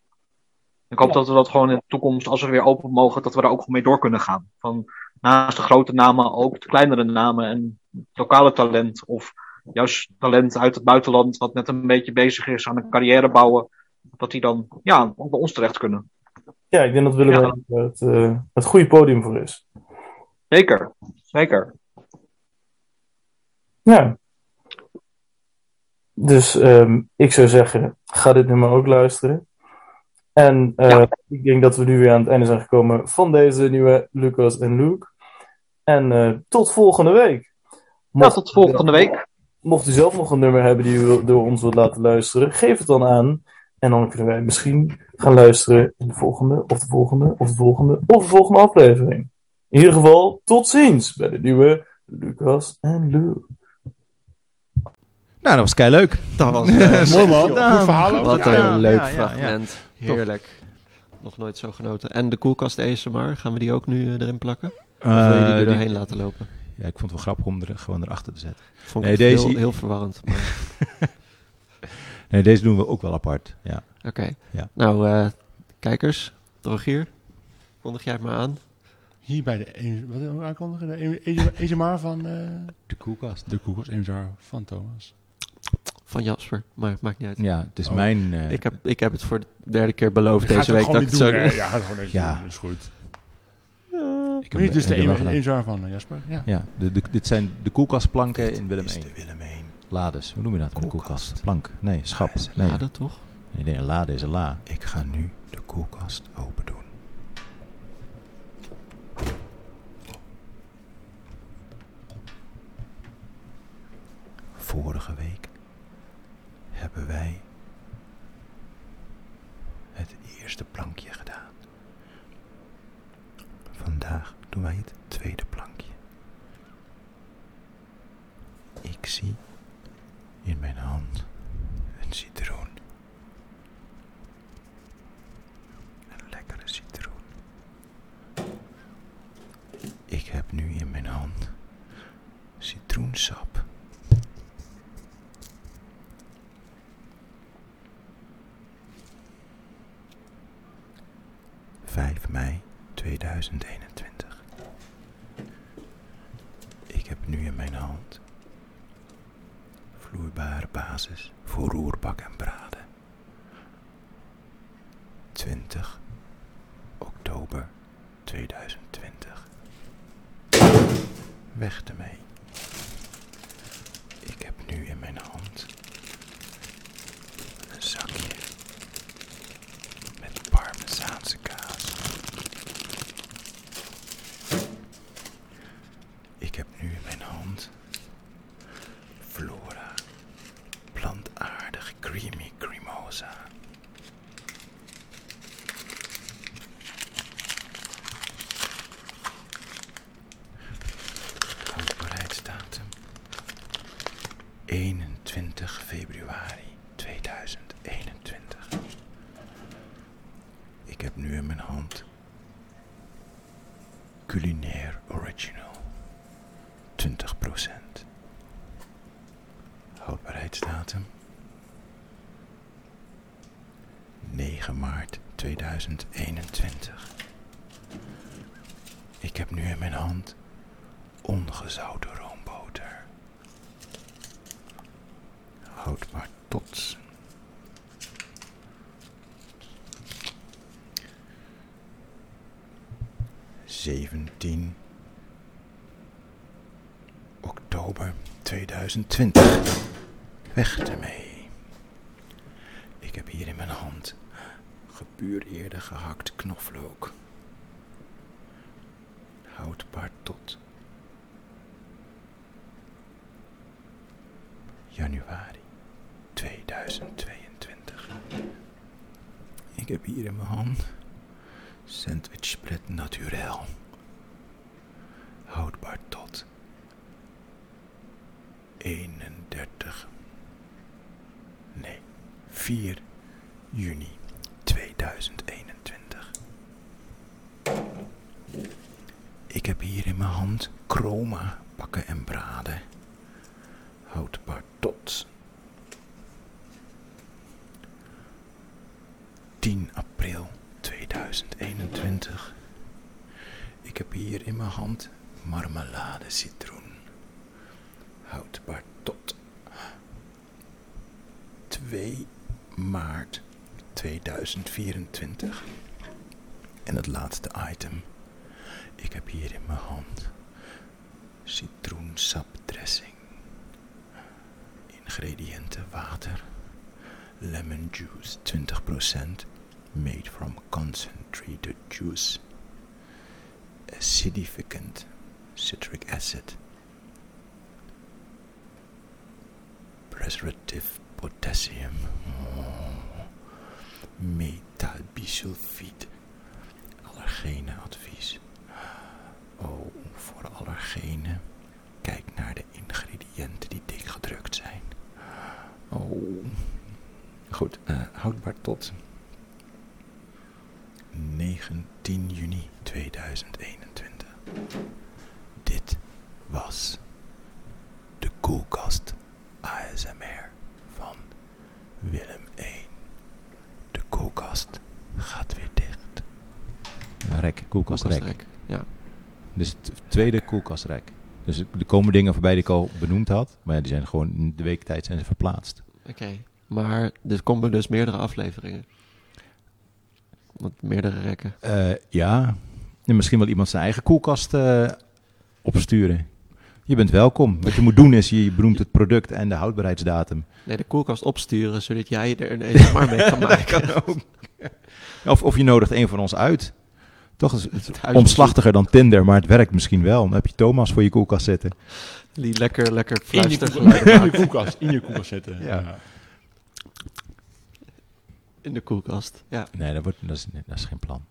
[SPEAKER 5] Ik hoop dat we dat gewoon in de toekomst, als we weer open mogen, dat we daar ook gewoon mee door kunnen gaan. Van naast de grote namen ook de kleinere namen en lokale talent of juist talent uit het buitenland wat net een beetje bezig is aan een carrière bouwen, dat die dan ja, ook bij ons terecht kunnen.
[SPEAKER 2] Ja, ik denk dat Willem
[SPEAKER 5] Ja.
[SPEAKER 2] er het, eh, het goede podium voor is.
[SPEAKER 5] Zeker, zeker.
[SPEAKER 2] Ja. Dus ehm, ik zou zeggen, ga dit nummer ook luisteren. En eh,
[SPEAKER 5] Ja.
[SPEAKER 2] ik denk dat we nu weer aan het einde zijn gekomen van deze nieuwe Lucas en Luke. En eh, tot volgende week.
[SPEAKER 5] Ja,
[SPEAKER 2] Mocht-
[SPEAKER 5] tot volgende week.
[SPEAKER 2] Mocht u zelf nog een nummer hebben die u wil- door ons wilt laten luisteren, geef het dan aan. En dan kunnen wij misschien gaan luisteren in de volgende, of de volgende, of de volgende, of de volgende aflevering. In ieder geval, tot ziens bij de nieuwe Lucas en Luke.
[SPEAKER 4] Nou, dat was kei leuk.
[SPEAKER 1] Dat
[SPEAKER 4] <laughs>
[SPEAKER 1] was eh,
[SPEAKER 3] Mooi man.
[SPEAKER 4] gedaan.
[SPEAKER 3] Goed verhaal. ook.
[SPEAKER 1] Wat
[SPEAKER 3] Ja,
[SPEAKER 1] een
[SPEAKER 3] ja.
[SPEAKER 1] leuk
[SPEAKER 4] ja, ja.
[SPEAKER 1] fragment. Heerlijk. Nog nooit zo genoten. En de koelkast ASMR, gaan we die ook nu eh, erin plakken? of wil je die er
[SPEAKER 4] Eh, die-
[SPEAKER 1] doorheen laten lopen?
[SPEAKER 4] ja, ik vond het wel grappig om er gewoon erachter te zetten.
[SPEAKER 1] Vond
[SPEAKER 4] Nee,
[SPEAKER 1] ik
[SPEAKER 4] deze-
[SPEAKER 1] heel, heel verwarrend. maar-
[SPEAKER 4] Nee, deze doen we ook wel apart. Ja.
[SPEAKER 1] Oké.
[SPEAKER 4] Ja.
[SPEAKER 1] Nou, eh, kijkers, Rogier, kondig jij het maar aan.
[SPEAKER 3] Hier bij de een- wat wil ik aankondigen? E- De een- ASMR van eh,
[SPEAKER 4] De koelkast.
[SPEAKER 3] de Koekers, E ASMR van Thomas.
[SPEAKER 1] Van Jasper, maar maakt niet uit.
[SPEAKER 4] Ja, het is
[SPEAKER 3] Oh.
[SPEAKER 4] mijn... eh,
[SPEAKER 1] Ik, heb, ik heb het voor de derde keer beloofd
[SPEAKER 3] Gaat
[SPEAKER 1] deze
[SPEAKER 3] het
[SPEAKER 1] week dat
[SPEAKER 3] gewoon
[SPEAKER 1] ik het
[SPEAKER 3] niet
[SPEAKER 1] zou
[SPEAKER 3] doen,
[SPEAKER 1] doen.
[SPEAKER 3] hè? Ja, gaat het gewoon even
[SPEAKER 4] Ja.
[SPEAKER 3] doen, dat is goed.
[SPEAKER 4] ik
[SPEAKER 3] Hier is dus de
[SPEAKER 4] heb hem wel
[SPEAKER 3] een-
[SPEAKER 4] gedaan.
[SPEAKER 3] ASMR van eh, Jasper. Ja.
[SPEAKER 4] Ja, de, de- dit zijn de koelkastplanken in Willem 1. Lades, hoe noem je dat? Een koelkast. Plank. Nee, schap. Nee,
[SPEAKER 1] Ja, Ah, dat toch?
[SPEAKER 4] nee, nee, een lade is een la. Ik ga nu de koelkast open doen. Vorige week hebben wij het eerste plankje gedaan. Vandaag doen wij het tweede plankje. Ik zie in mijn hand een citroen. Een lekkere citroen. Ik heb nu in mijn hand citroensap. Vijf mei 2021. Ik heb nu in mijn hand vloeibare basis voor roerbak en braden. 20 oktober 2020. Weg ermee. Ik heb nu in mijn hand een zakje met parmezaanse kaas. Ik heb nu in mijn hand Flora plantaardig creamy cremosa. Houdbaarheidsdatum 21 februari 2021. Ik heb nu in mijn hand Culinair Original 20%. Houdbaarheidsdatum 9 maart 2021. Ik heb nu in mijn hand ongezouten roomboter. Houd maar tot. Zeventien oktober 2020. Weg ermee. Ik heb hier in mijn hand gepureerde gehakt knoflook. Houdbaar tot januari 2022. Ik heb hier in mijn hand sandwich spread naturel. Houdbaar tot 31. Nee, 4 juni 2021. Ik heb hier in mijn hand chroma bakken en braden. Houdbaar tot 10 april 2021. Ik heb hier in mijn hand marmelade citroen. Houdbaar tot 2 maart 2024. En het laatste item. Ik heb hier in mijn hand citroensapdressing. Ingrediënten water, lemon juice 20%, made from concentrated juice, acidificant citric acid, preservative potassium, oh. metabisulfiet, allergene advies. Oh, voor allergenen, kijk naar de ingrediënten die dik gedrukt zijn. Oh. Goed, eh, houdbaar tot 19 juni 2021. Dit was de koelkast ASMR van Willem 1. De koelkast gaat weer dicht. Rek, koelkastrek.
[SPEAKER 1] Koelkastrek, Ja.
[SPEAKER 4] Dus het tweede koelkastrek. Dus er komen dingen voorbij die ik al benoemd had. Maar ja, die zijn gewoon in de week tijd zijn ze verplaatst.
[SPEAKER 1] Oké. Maar er komen dus meerdere afleveringen. Want meerdere rekken.
[SPEAKER 4] Eh, ja, en misschien wil iemand zijn eigen koelkast eh, opsturen. Je bent welkom. Wat je moet doen is, je benoemt het product en de <laughs> houdbaarheidsdatum.
[SPEAKER 1] Nee, de koelkast opsturen, zodat jij er een ASMR mee
[SPEAKER 4] <laughs>
[SPEAKER 1] kan maken.
[SPEAKER 4] ook. Of, of je nodigt een van ons uit. Toch is het
[SPEAKER 1] Thuis
[SPEAKER 4] omslachtiger dan Tinder, maar het werkt misschien wel. Dan heb je Thomas voor je koelkast zitten.
[SPEAKER 1] Die lekker, lekker
[SPEAKER 3] In je,
[SPEAKER 1] fluistergeluid maakt.
[SPEAKER 3] koelkast, in je koelkast, in je koelkast zetten.
[SPEAKER 4] Ja.
[SPEAKER 1] In de koelkast, ja.
[SPEAKER 4] Nee, dat, wordt, dat, is, dat is geen plan.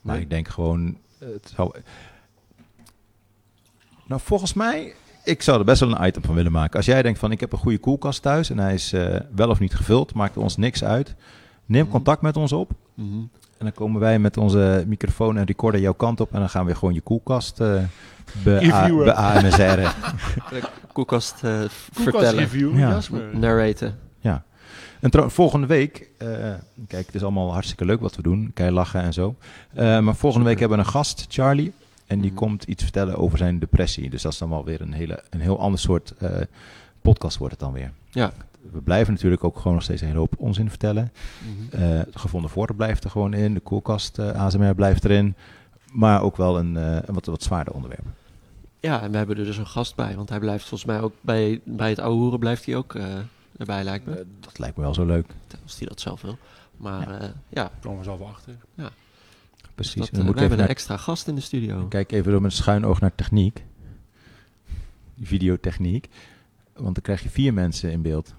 [SPEAKER 4] Maar
[SPEAKER 1] Nee.
[SPEAKER 4] ik denk gewoon, het zou... Nou, volgens mij, ik zou er best wel een item van willen maken. Als jij denkt van, ik heb een goede koelkast thuis en hij is eh, wel of niet gevuld, maakt ons niks uit. Neem
[SPEAKER 1] Mhm.
[SPEAKER 4] contact met ons op
[SPEAKER 1] Mhm.
[SPEAKER 4] en dan komen wij met onze microfoon en recorder jouw kant op en dan gaan we gewoon je koelkast eh
[SPEAKER 3] Reviewen.
[SPEAKER 4] be AMSR'en.
[SPEAKER 1] Koelkast eh, v-
[SPEAKER 3] Koelkast eh.
[SPEAKER 1] vertellen.
[SPEAKER 3] review,
[SPEAKER 4] Ja.
[SPEAKER 3] Jasper.
[SPEAKER 1] Narraten.
[SPEAKER 4] Ja. En trouw- volgende week, eh, kijk, het is allemaal hartstikke leuk wat we doen, kei lachen en zo. Eh, maar volgende week hebben we een gast, Charlie, en die
[SPEAKER 1] Mhm.
[SPEAKER 4] komt iets vertellen over zijn depressie. Dus dat is dan wel weer een, hele, een heel ander soort eh, podcast wordt het dan weer.
[SPEAKER 1] Ja.
[SPEAKER 4] We blijven natuurlijk ook gewoon nog steeds een hele hoop onzin vertellen.
[SPEAKER 1] Mhm.
[SPEAKER 4] Eh, het gevonden voort blijft er gewoon in, de koelkast eh, ASMR blijft erin. Maar ook wel een, eh, een wat, wat zwaarder onderwerp.
[SPEAKER 1] Ja, en we hebben er dus een gast bij. Want hij blijft volgens mij ook bij, bij het oude hoeren blijft hij ook eh, erbij, lijkt me.
[SPEAKER 4] Eh, dat lijkt me wel zo leuk.
[SPEAKER 1] Als hij dat zelf wil. Maar eh, ja,
[SPEAKER 3] Komen we zelf wel achter.
[SPEAKER 4] Precies.
[SPEAKER 1] dat,
[SPEAKER 4] En
[SPEAKER 1] eh,
[SPEAKER 4] dan moet
[SPEAKER 1] we
[SPEAKER 4] ik
[SPEAKER 1] hebben een
[SPEAKER 4] even naar
[SPEAKER 1] extra gast in de studio.
[SPEAKER 4] Kijk even door met een schuin oog naar techniek. Videotechniek. Want dan krijg je vier mensen in beeld.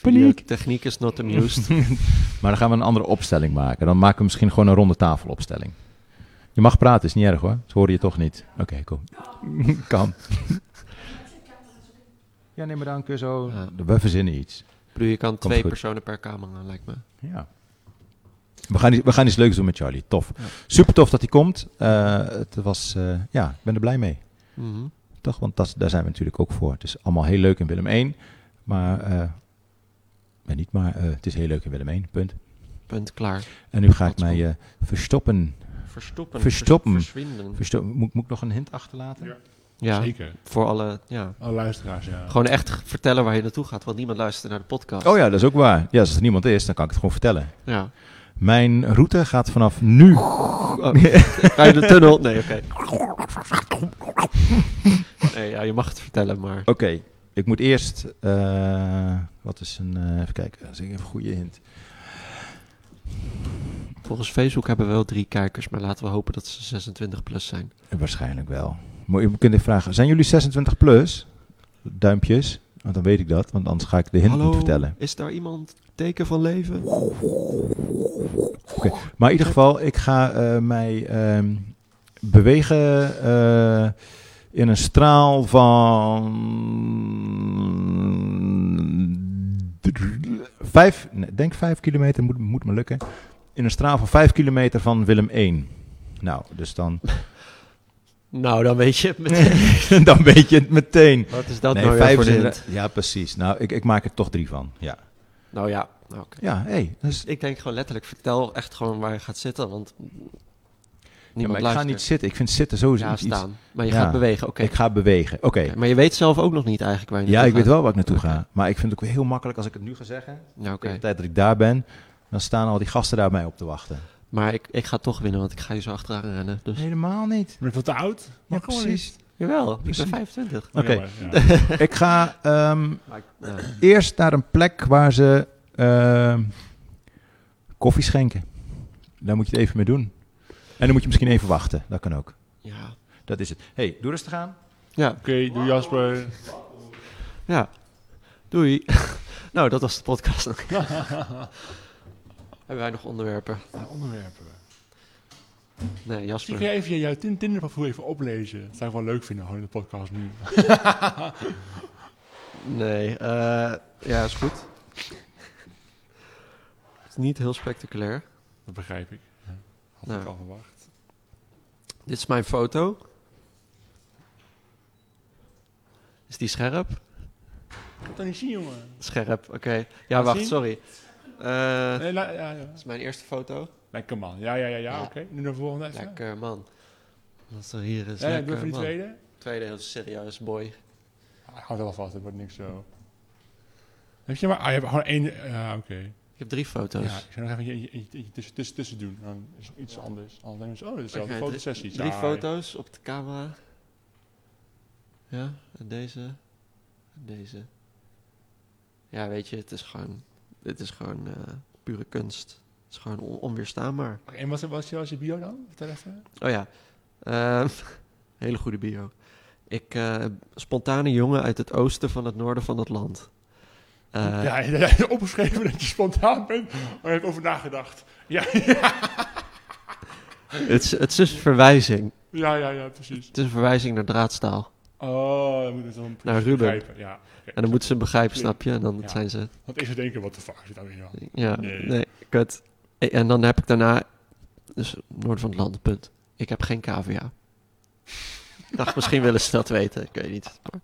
[SPEAKER 4] Paniek.
[SPEAKER 1] Techniek is not amused.
[SPEAKER 4] <laughs> Maar dan gaan we een andere opstelling maken. Dan maken we misschien gewoon een ronde tafelopstelling. Je mag praten, is niet erg hoor. Ze horen je toch niet. Oké, kom. <laughs> kan. <laughs> Ja, neem maar dan een keer zo.
[SPEAKER 1] Ja.
[SPEAKER 4] We verzinnen iets.
[SPEAKER 1] Ik bedoel, je kan twee
[SPEAKER 4] goed.
[SPEAKER 1] personen per kamer aan, lijkt me.
[SPEAKER 4] Ja. We gaan, i- we gaan iets leuks doen met Charlie. Tof.
[SPEAKER 1] Ja.
[SPEAKER 4] Super tof dat hij komt. Eh, het was, eh, ja, ik ben er blij mee.
[SPEAKER 1] Mhm.
[SPEAKER 4] Toch? Want dat, daar zijn we natuurlijk ook voor. Het is allemaal heel leuk in Willem 1. Maar, eh, nee, niet maar, eh, het is heel leuk in Willem 1. Punt.
[SPEAKER 1] Punt, klaar.
[SPEAKER 4] En nu ga ik
[SPEAKER 1] Dat is
[SPEAKER 4] mij eh, verstoppen
[SPEAKER 1] Verstoppen.
[SPEAKER 4] Verstoppen.
[SPEAKER 1] vers- Verzwinden.
[SPEAKER 4] Versto- moet, moet ik nog een hint achterlaten?
[SPEAKER 3] Ja.
[SPEAKER 1] Ja,
[SPEAKER 3] Zeker.
[SPEAKER 1] voor alle... Ja.
[SPEAKER 3] Alle luisteraars, ja.
[SPEAKER 1] Gewoon echt g- vertellen waar je naartoe gaat, want niemand luistert naar de podcast.
[SPEAKER 4] Oh ja, dat is ook waar. Ja, als er niemand is, dan kan ik het gewoon vertellen.
[SPEAKER 1] ja.
[SPEAKER 4] Mijn route gaat vanaf nu. eh.
[SPEAKER 1] <laughs> Ga je Oh. de tunnel? Nee,
[SPEAKER 4] <laughs>
[SPEAKER 1] oké. Nee, ja, je mag het vertellen, maar...
[SPEAKER 4] Oké, ik moet eerst. eh, wat is een. eh, even kijken, dat is even een goede hint.
[SPEAKER 1] Volgens Facebook hebben we wel drie kijkers, maar laten we hopen dat ze 26 plus zijn.
[SPEAKER 4] Eh, Waarschijnlijk wel. Maar je kunt even vragen: zijn jullie 26 plus? Duimpjes. Want dan weet ik dat, want anders ga ik de hint
[SPEAKER 1] Hallo,
[SPEAKER 4] niet vertellen.
[SPEAKER 1] is daar iemand teken van leven?
[SPEAKER 4] Maar in ieder geval, ik ga eh, mij ehm, bewegen eh, in een straal van. Vijf, nee, denk vijf kilometer, moet, moet me lukken. In een straal van vijf kilometer van Willem 1. Nou, dus dan, <laughs>
[SPEAKER 1] Nou, dan weet je het meteen.
[SPEAKER 4] dan weet je het meteen.
[SPEAKER 1] <laughs> Wat is dat
[SPEAKER 4] Nee,
[SPEAKER 1] nou weer
[SPEAKER 4] vijf
[SPEAKER 1] voor
[SPEAKER 4] is
[SPEAKER 1] de
[SPEAKER 4] inderdaad-
[SPEAKER 1] hint?
[SPEAKER 4] Ja, precies. Nou, ik, ik maak er toch drie van. Ja,
[SPEAKER 1] Nou ja, nou, oké. Dus
[SPEAKER 4] ja hé. Hey, dus dat is-
[SPEAKER 1] Ik denk gewoon letterlijk, vertel echt gewoon waar je gaat zitten, want
[SPEAKER 4] ja, maar
[SPEAKER 1] niemand
[SPEAKER 4] ik ga
[SPEAKER 1] luistert.
[SPEAKER 4] niet zitten. Ik vind zitten sowieso
[SPEAKER 1] ja,
[SPEAKER 4] iets... iets-
[SPEAKER 1] staan. Maar je
[SPEAKER 4] Ja.
[SPEAKER 1] gaat bewegen, oké.
[SPEAKER 4] Ik ga bewegen. Oké.
[SPEAKER 1] Oké, Maar je weet zelf ook nog niet eigenlijk waar je
[SPEAKER 4] Ja, ik
[SPEAKER 1] naartoe
[SPEAKER 4] weet
[SPEAKER 1] gaat.
[SPEAKER 4] wel waar ik naartoe ga. Maar ik vind het ook heel makkelijk als ik het nu ga zeggen.
[SPEAKER 1] Ja, oké.
[SPEAKER 4] Tegen de tijd dat ik daar ben, dan staan al die gasten daar op mij op te wachten.
[SPEAKER 1] Maar ik, ik ga toch winnen, want ik ga je zo achteraan rennen. Dus.
[SPEAKER 4] Helemaal niet.
[SPEAKER 3] Ben ik veel te oud?
[SPEAKER 4] Ja,
[SPEAKER 3] Mag gewoon niet.
[SPEAKER 4] precies.
[SPEAKER 1] Jawel, ik ben
[SPEAKER 4] Precies.
[SPEAKER 1] 25.
[SPEAKER 4] Oké.
[SPEAKER 3] Jammer, ja.
[SPEAKER 4] <laughs> ik ga ehm,
[SPEAKER 1] Maar ik- ja.
[SPEAKER 4] eerst naar een plek waar ze ehm, koffie schenken. Daar moet je het even mee doen. En dan moet je misschien even wachten. Dat kan ook.
[SPEAKER 1] ja.
[SPEAKER 4] Dat is het. hey, doe rustig aan.
[SPEAKER 1] ja,
[SPEAKER 3] Oké,
[SPEAKER 1] <laughs>
[SPEAKER 3] doe Jasper.
[SPEAKER 1] ja. Doei. <laughs> nou, dat was de podcast. ook. <laughs> Hebben wij nog onderwerpen?
[SPEAKER 3] onderwerpen.
[SPEAKER 1] Nee,
[SPEAKER 3] Zie
[SPEAKER 1] Jasper.
[SPEAKER 3] ik even jouw Tin- Tinder-profiel even oplezen. Dat zou ik wel leuk vinden, gewoon in de podcast nu. <laughs>
[SPEAKER 1] Nee, eh, ja, is goed. Het is niet heel spectaculair.
[SPEAKER 3] Dat begrijp ik. Had
[SPEAKER 1] Nou.
[SPEAKER 3] ik al verwacht.
[SPEAKER 1] Dit is mijn foto. Is die scherp?
[SPEAKER 3] Ik kan het niet zien, jongen.
[SPEAKER 1] Scherp, oké. Ja, wacht,
[SPEAKER 3] zien?
[SPEAKER 1] sorry. Eh, dit
[SPEAKER 3] Nee, la- ja, ja.
[SPEAKER 1] is mijn eerste foto.
[SPEAKER 3] Lekker man. Ja, ja, ja, ja.
[SPEAKER 1] Ja.
[SPEAKER 3] Oké, nu naar de volgende even.
[SPEAKER 1] Lekker man. Wat er hier is.
[SPEAKER 3] ja, ja, ik ben
[SPEAKER 1] lekker
[SPEAKER 3] voor die
[SPEAKER 1] man. Tweede.
[SPEAKER 3] tweede.
[SPEAKER 1] heel serieus boy.
[SPEAKER 3] Ah, Houd wel vast, het wordt niks zo. Heb je maar... Ah, je hebt gewoon één... Ja, oké.
[SPEAKER 1] Ik heb drie foto's.
[SPEAKER 3] Ja, ik zou nog even eentje, eentje, eentje tussen, tussen, tussen doen. Dan is het iets anders. Anders denken ze, oh, dit is wel
[SPEAKER 1] Oké,
[SPEAKER 3] een
[SPEAKER 1] drie-
[SPEAKER 3] fotosessie.
[SPEAKER 1] Drie
[SPEAKER 3] Saai.
[SPEAKER 1] foto's op de camera. Ja, en deze. En deze. Ja, weet je, het is gewoon... Dit is gewoon eh, pure kunst. Het is gewoon on- onweerstaanbaar.
[SPEAKER 3] Oké, En wat was, was, was je bio dan? Vertel even.
[SPEAKER 1] Oh ja. Ehm, <laughs> hele goede bio. Ik, eh, spontane jongen uit het oosten van het noorden van het land. Eh,
[SPEAKER 3] ja, je hebt opgeschreven dat je spontaan bent, maar je hebt over nagedacht. Ja, ja,
[SPEAKER 1] het, is, het is een verwijzing.
[SPEAKER 3] ja, ja, ja, precies.
[SPEAKER 1] Het is een verwijzing naar draadstaal.
[SPEAKER 3] Oh, dan moet het dan
[SPEAKER 1] Nou, Ruben.
[SPEAKER 3] begrijpen. Ja, oké.
[SPEAKER 1] En dan moeten ze hem begrijpen, snap je? En dan
[SPEAKER 3] Ja.
[SPEAKER 1] zijn ze...
[SPEAKER 3] Want ik zou denken, wat de fuck is dit nou weer? joh?
[SPEAKER 1] Ja,
[SPEAKER 3] Nee.
[SPEAKER 1] nee, kut. E- En dan heb ik daarna... Dus noord van het land, punt. Ik heb geen cavia. Ik dacht, misschien willen ze dat weten. Ik weet niet. Maar-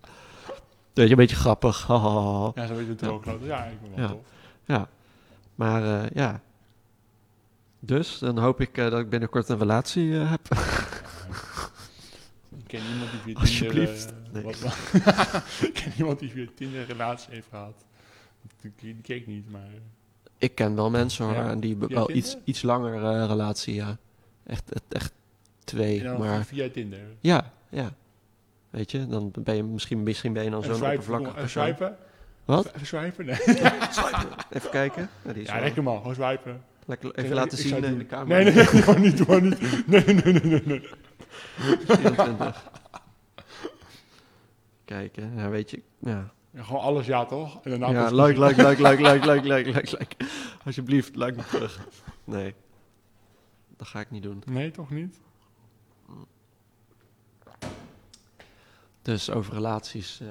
[SPEAKER 1] Weet je, een beetje grappig. <laughs> hahaha.
[SPEAKER 3] Ja, zo weet je het
[SPEAKER 1] Ja.
[SPEAKER 3] ook. wel. Ja, ik ben wel
[SPEAKER 1] Ja.
[SPEAKER 3] tof.
[SPEAKER 1] Maar eh, ja. Dus, dan hoop ik eh, dat ik binnenkort een relatie eh, heb.
[SPEAKER 3] Ik ken niemand die via
[SPEAKER 1] <laughs> Alsjeblieft.
[SPEAKER 3] Tinder... eh,
[SPEAKER 1] Nee.
[SPEAKER 3] wat- <laughs> ik ken niemand die via Tinder een relatie heeft gehad. Die, die ken ik niet, maar...
[SPEAKER 1] Ik ken wel mensen hoor,
[SPEAKER 3] Ja?
[SPEAKER 1] en die be-
[SPEAKER 3] Via
[SPEAKER 1] wel
[SPEAKER 3] Tinder?
[SPEAKER 1] iets, iets langer eh, relatie, ja. Echt, echt, echt twee,
[SPEAKER 3] En dan
[SPEAKER 1] maar...
[SPEAKER 3] via Tinder.
[SPEAKER 1] Ja, ja. Weet je, dan ben je misschien, misschien ben je dan
[SPEAKER 3] Even
[SPEAKER 1] zo'n
[SPEAKER 3] swipen,
[SPEAKER 1] oppervlakkig
[SPEAKER 3] even
[SPEAKER 1] persoon.
[SPEAKER 3] swipen.
[SPEAKER 1] Wat?
[SPEAKER 3] Even swipen? Nee.
[SPEAKER 1] Even kijken. Ja, die is
[SPEAKER 3] Ja,
[SPEAKER 1] wel-
[SPEAKER 3] lekker man, gewoon swipen.
[SPEAKER 1] Lekker
[SPEAKER 3] Ik
[SPEAKER 1] even
[SPEAKER 3] zou-
[SPEAKER 1] laten
[SPEAKER 3] ik zou
[SPEAKER 1] zien eh, in de
[SPEAKER 3] het doen.
[SPEAKER 1] camera.
[SPEAKER 3] Nee, <laughs> nee, nee, gewoon niet, gewoon niet. Nee, nee, nee, nee, nee.
[SPEAKER 1] <laughs> 24. Kijken, ja, weet je. Ja,
[SPEAKER 3] Ja, Gewoon alles ja, toch? En daarna
[SPEAKER 1] ja
[SPEAKER 3] pas-
[SPEAKER 1] like, like, like, like, like, like, like, like, like. Alsjeblieft, like me terug. Nee. Dat ga ik niet doen.
[SPEAKER 3] Nee, toch niet?
[SPEAKER 1] Dus over relaties, eh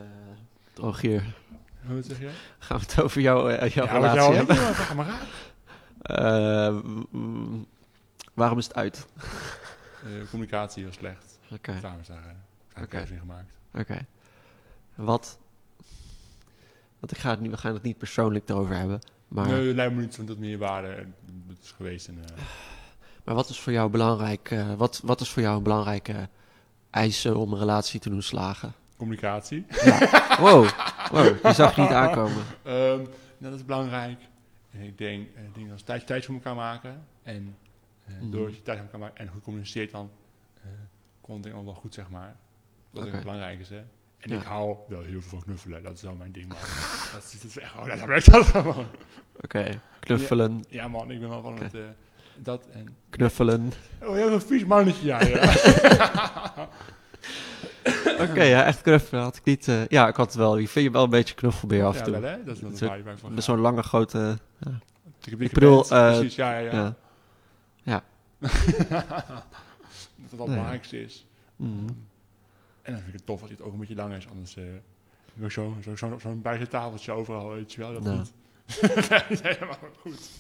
[SPEAKER 1] Rogier.
[SPEAKER 3] Wat zeg je?
[SPEAKER 1] Gaan we het over jou, eh, jouw
[SPEAKER 3] Ja, wat
[SPEAKER 1] relatie
[SPEAKER 3] jou
[SPEAKER 1] hebben?
[SPEAKER 3] Ja, zeg maar raar.
[SPEAKER 1] Eh, mm, waarom is het uit?
[SPEAKER 3] Eh, communicatie was slecht.
[SPEAKER 1] Oké,
[SPEAKER 3] Samen zeggen. Daar heb
[SPEAKER 1] Oké.
[SPEAKER 3] ik zin gemaakt.
[SPEAKER 1] oké. Wat... Want ik ga het niet, we gaan het niet persoonlijk erover hebben. Maar
[SPEAKER 3] Nee, dat lijkt me niet van dat meer waarde. En Het is geweest en... eh,
[SPEAKER 1] Maar wat is voor jou belangrijk? eh, wat, wat is voor jou een belangrijke eisen om een relatie te doen slagen?
[SPEAKER 3] Communicatie.
[SPEAKER 1] Wow, wow die zag je niet aankomen.
[SPEAKER 3] Ehm, nou, dat is belangrijk. En ik denk, eh, dingen als tijd, tijd voor elkaar maken. En eh
[SPEAKER 1] Mhm.
[SPEAKER 3] doordat je tijd voor elkaar maakt en goed communiceert, dan eh komt het allemaal wel goed, zeg maar. Dat is
[SPEAKER 1] Oké.
[SPEAKER 3] ook belangrijk is, hè. En
[SPEAKER 1] Ja.
[SPEAKER 3] ik hou wel heel veel van knuffelen. Dat is wel mijn ding, man. <laughs> dat, is, dat is echt, oh, dat werkt dat gewoon.
[SPEAKER 1] Oké, knuffelen,
[SPEAKER 3] Ja, man, ik ben wel van het... eh, dat en...
[SPEAKER 1] knuffelen.
[SPEAKER 3] Oh, jij bent een vies mannetje, ja. ja.
[SPEAKER 1] Oké, ja, echt knuffelen had ik niet... eh, ja, ik had het wel. Ik vind je wel een beetje knuffelbeer af en
[SPEAKER 3] <laughs> ja,
[SPEAKER 1] toe.
[SPEAKER 3] wel, hè. Dat is wel
[SPEAKER 1] Met
[SPEAKER 3] waar je bij van
[SPEAKER 1] Met
[SPEAKER 3] gaat.
[SPEAKER 1] zo'n lange grote...
[SPEAKER 3] Dikke, dikke
[SPEAKER 1] bedoel,
[SPEAKER 3] band,
[SPEAKER 1] eh,
[SPEAKER 3] Precies, ja, ja,
[SPEAKER 1] Ja.
[SPEAKER 3] <laughs> ja. dat dat het
[SPEAKER 1] Nee.
[SPEAKER 3] belangrijkste is.
[SPEAKER 1] Mhm.
[SPEAKER 3] En dan vind ik het tof als het ook een beetje lang is, anders eh, heb ik zo'n zo, zo, zo'n bijzettafeltje overal, weet je wel. Dat
[SPEAKER 1] Ja.
[SPEAKER 3] niet. <laughs> dat is helemaal goed.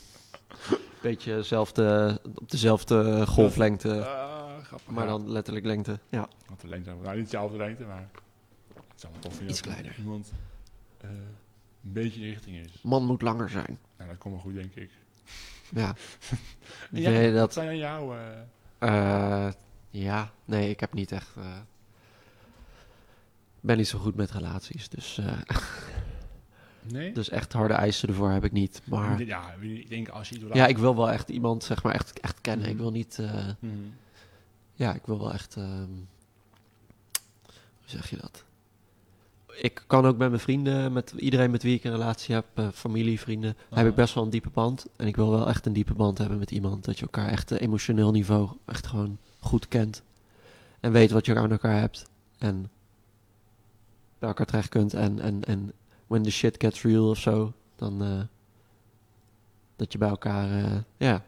[SPEAKER 1] Beetje dezelfde- op dezelfde golflengte,
[SPEAKER 3] Ah, grappig.
[SPEAKER 1] maar
[SPEAKER 3] ja.
[SPEAKER 1] dan letterlijk lengte. Ja.
[SPEAKER 3] Want de lengte, nou niet dezelfde lengte, maar het is allemaal tof. vinden
[SPEAKER 1] Iets
[SPEAKER 3] dat
[SPEAKER 1] kleiner.
[SPEAKER 3] Iemand eh, een beetje in de richting is.
[SPEAKER 1] Man moet langer zijn.
[SPEAKER 3] Nou, dat komt wel goed, denk ik. <laughs>
[SPEAKER 1] Ja.
[SPEAKER 3] En
[SPEAKER 1] Vind
[SPEAKER 3] jij-
[SPEAKER 1] je
[SPEAKER 3] Wat
[SPEAKER 1] dat?
[SPEAKER 3] zijn aan jou? eh,
[SPEAKER 1] eh, ja, nee, ik heb niet echt. eh, ben niet zo goed met relaties, dus, eh,
[SPEAKER 3] nee?
[SPEAKER 1] dus echt harde eisen ervoor heb ik niet. Maar
[SPEAKER 3] Ja, ik denk als je iets wil
[SPEAKER 1] ja, ik wil wel echt iemand, zeg maar, echt, echt kennen. Ik wil niet. eh,
[SPEAKER 3] Mhm.
[SPEAKER 1] Ja, ik wil wel echt. ehm, hoe zeg je dat? Ik kan ook met mijn vrienden, met iedereen met wie ik een relatie heb, eh, familie, vrienden, heb ik best wel een diepe band. En ik wil wel echt een diepe band hebben met iemand. Dat je elkaar echt eh, emotioneel niveau echt gewoon goed kent. En weet wat je aan elkaar hebt. En bij elkaar terecht kunt. En, en, en when the shit gets real of zo, dan eh, dat je bij elkaar, eh, ja,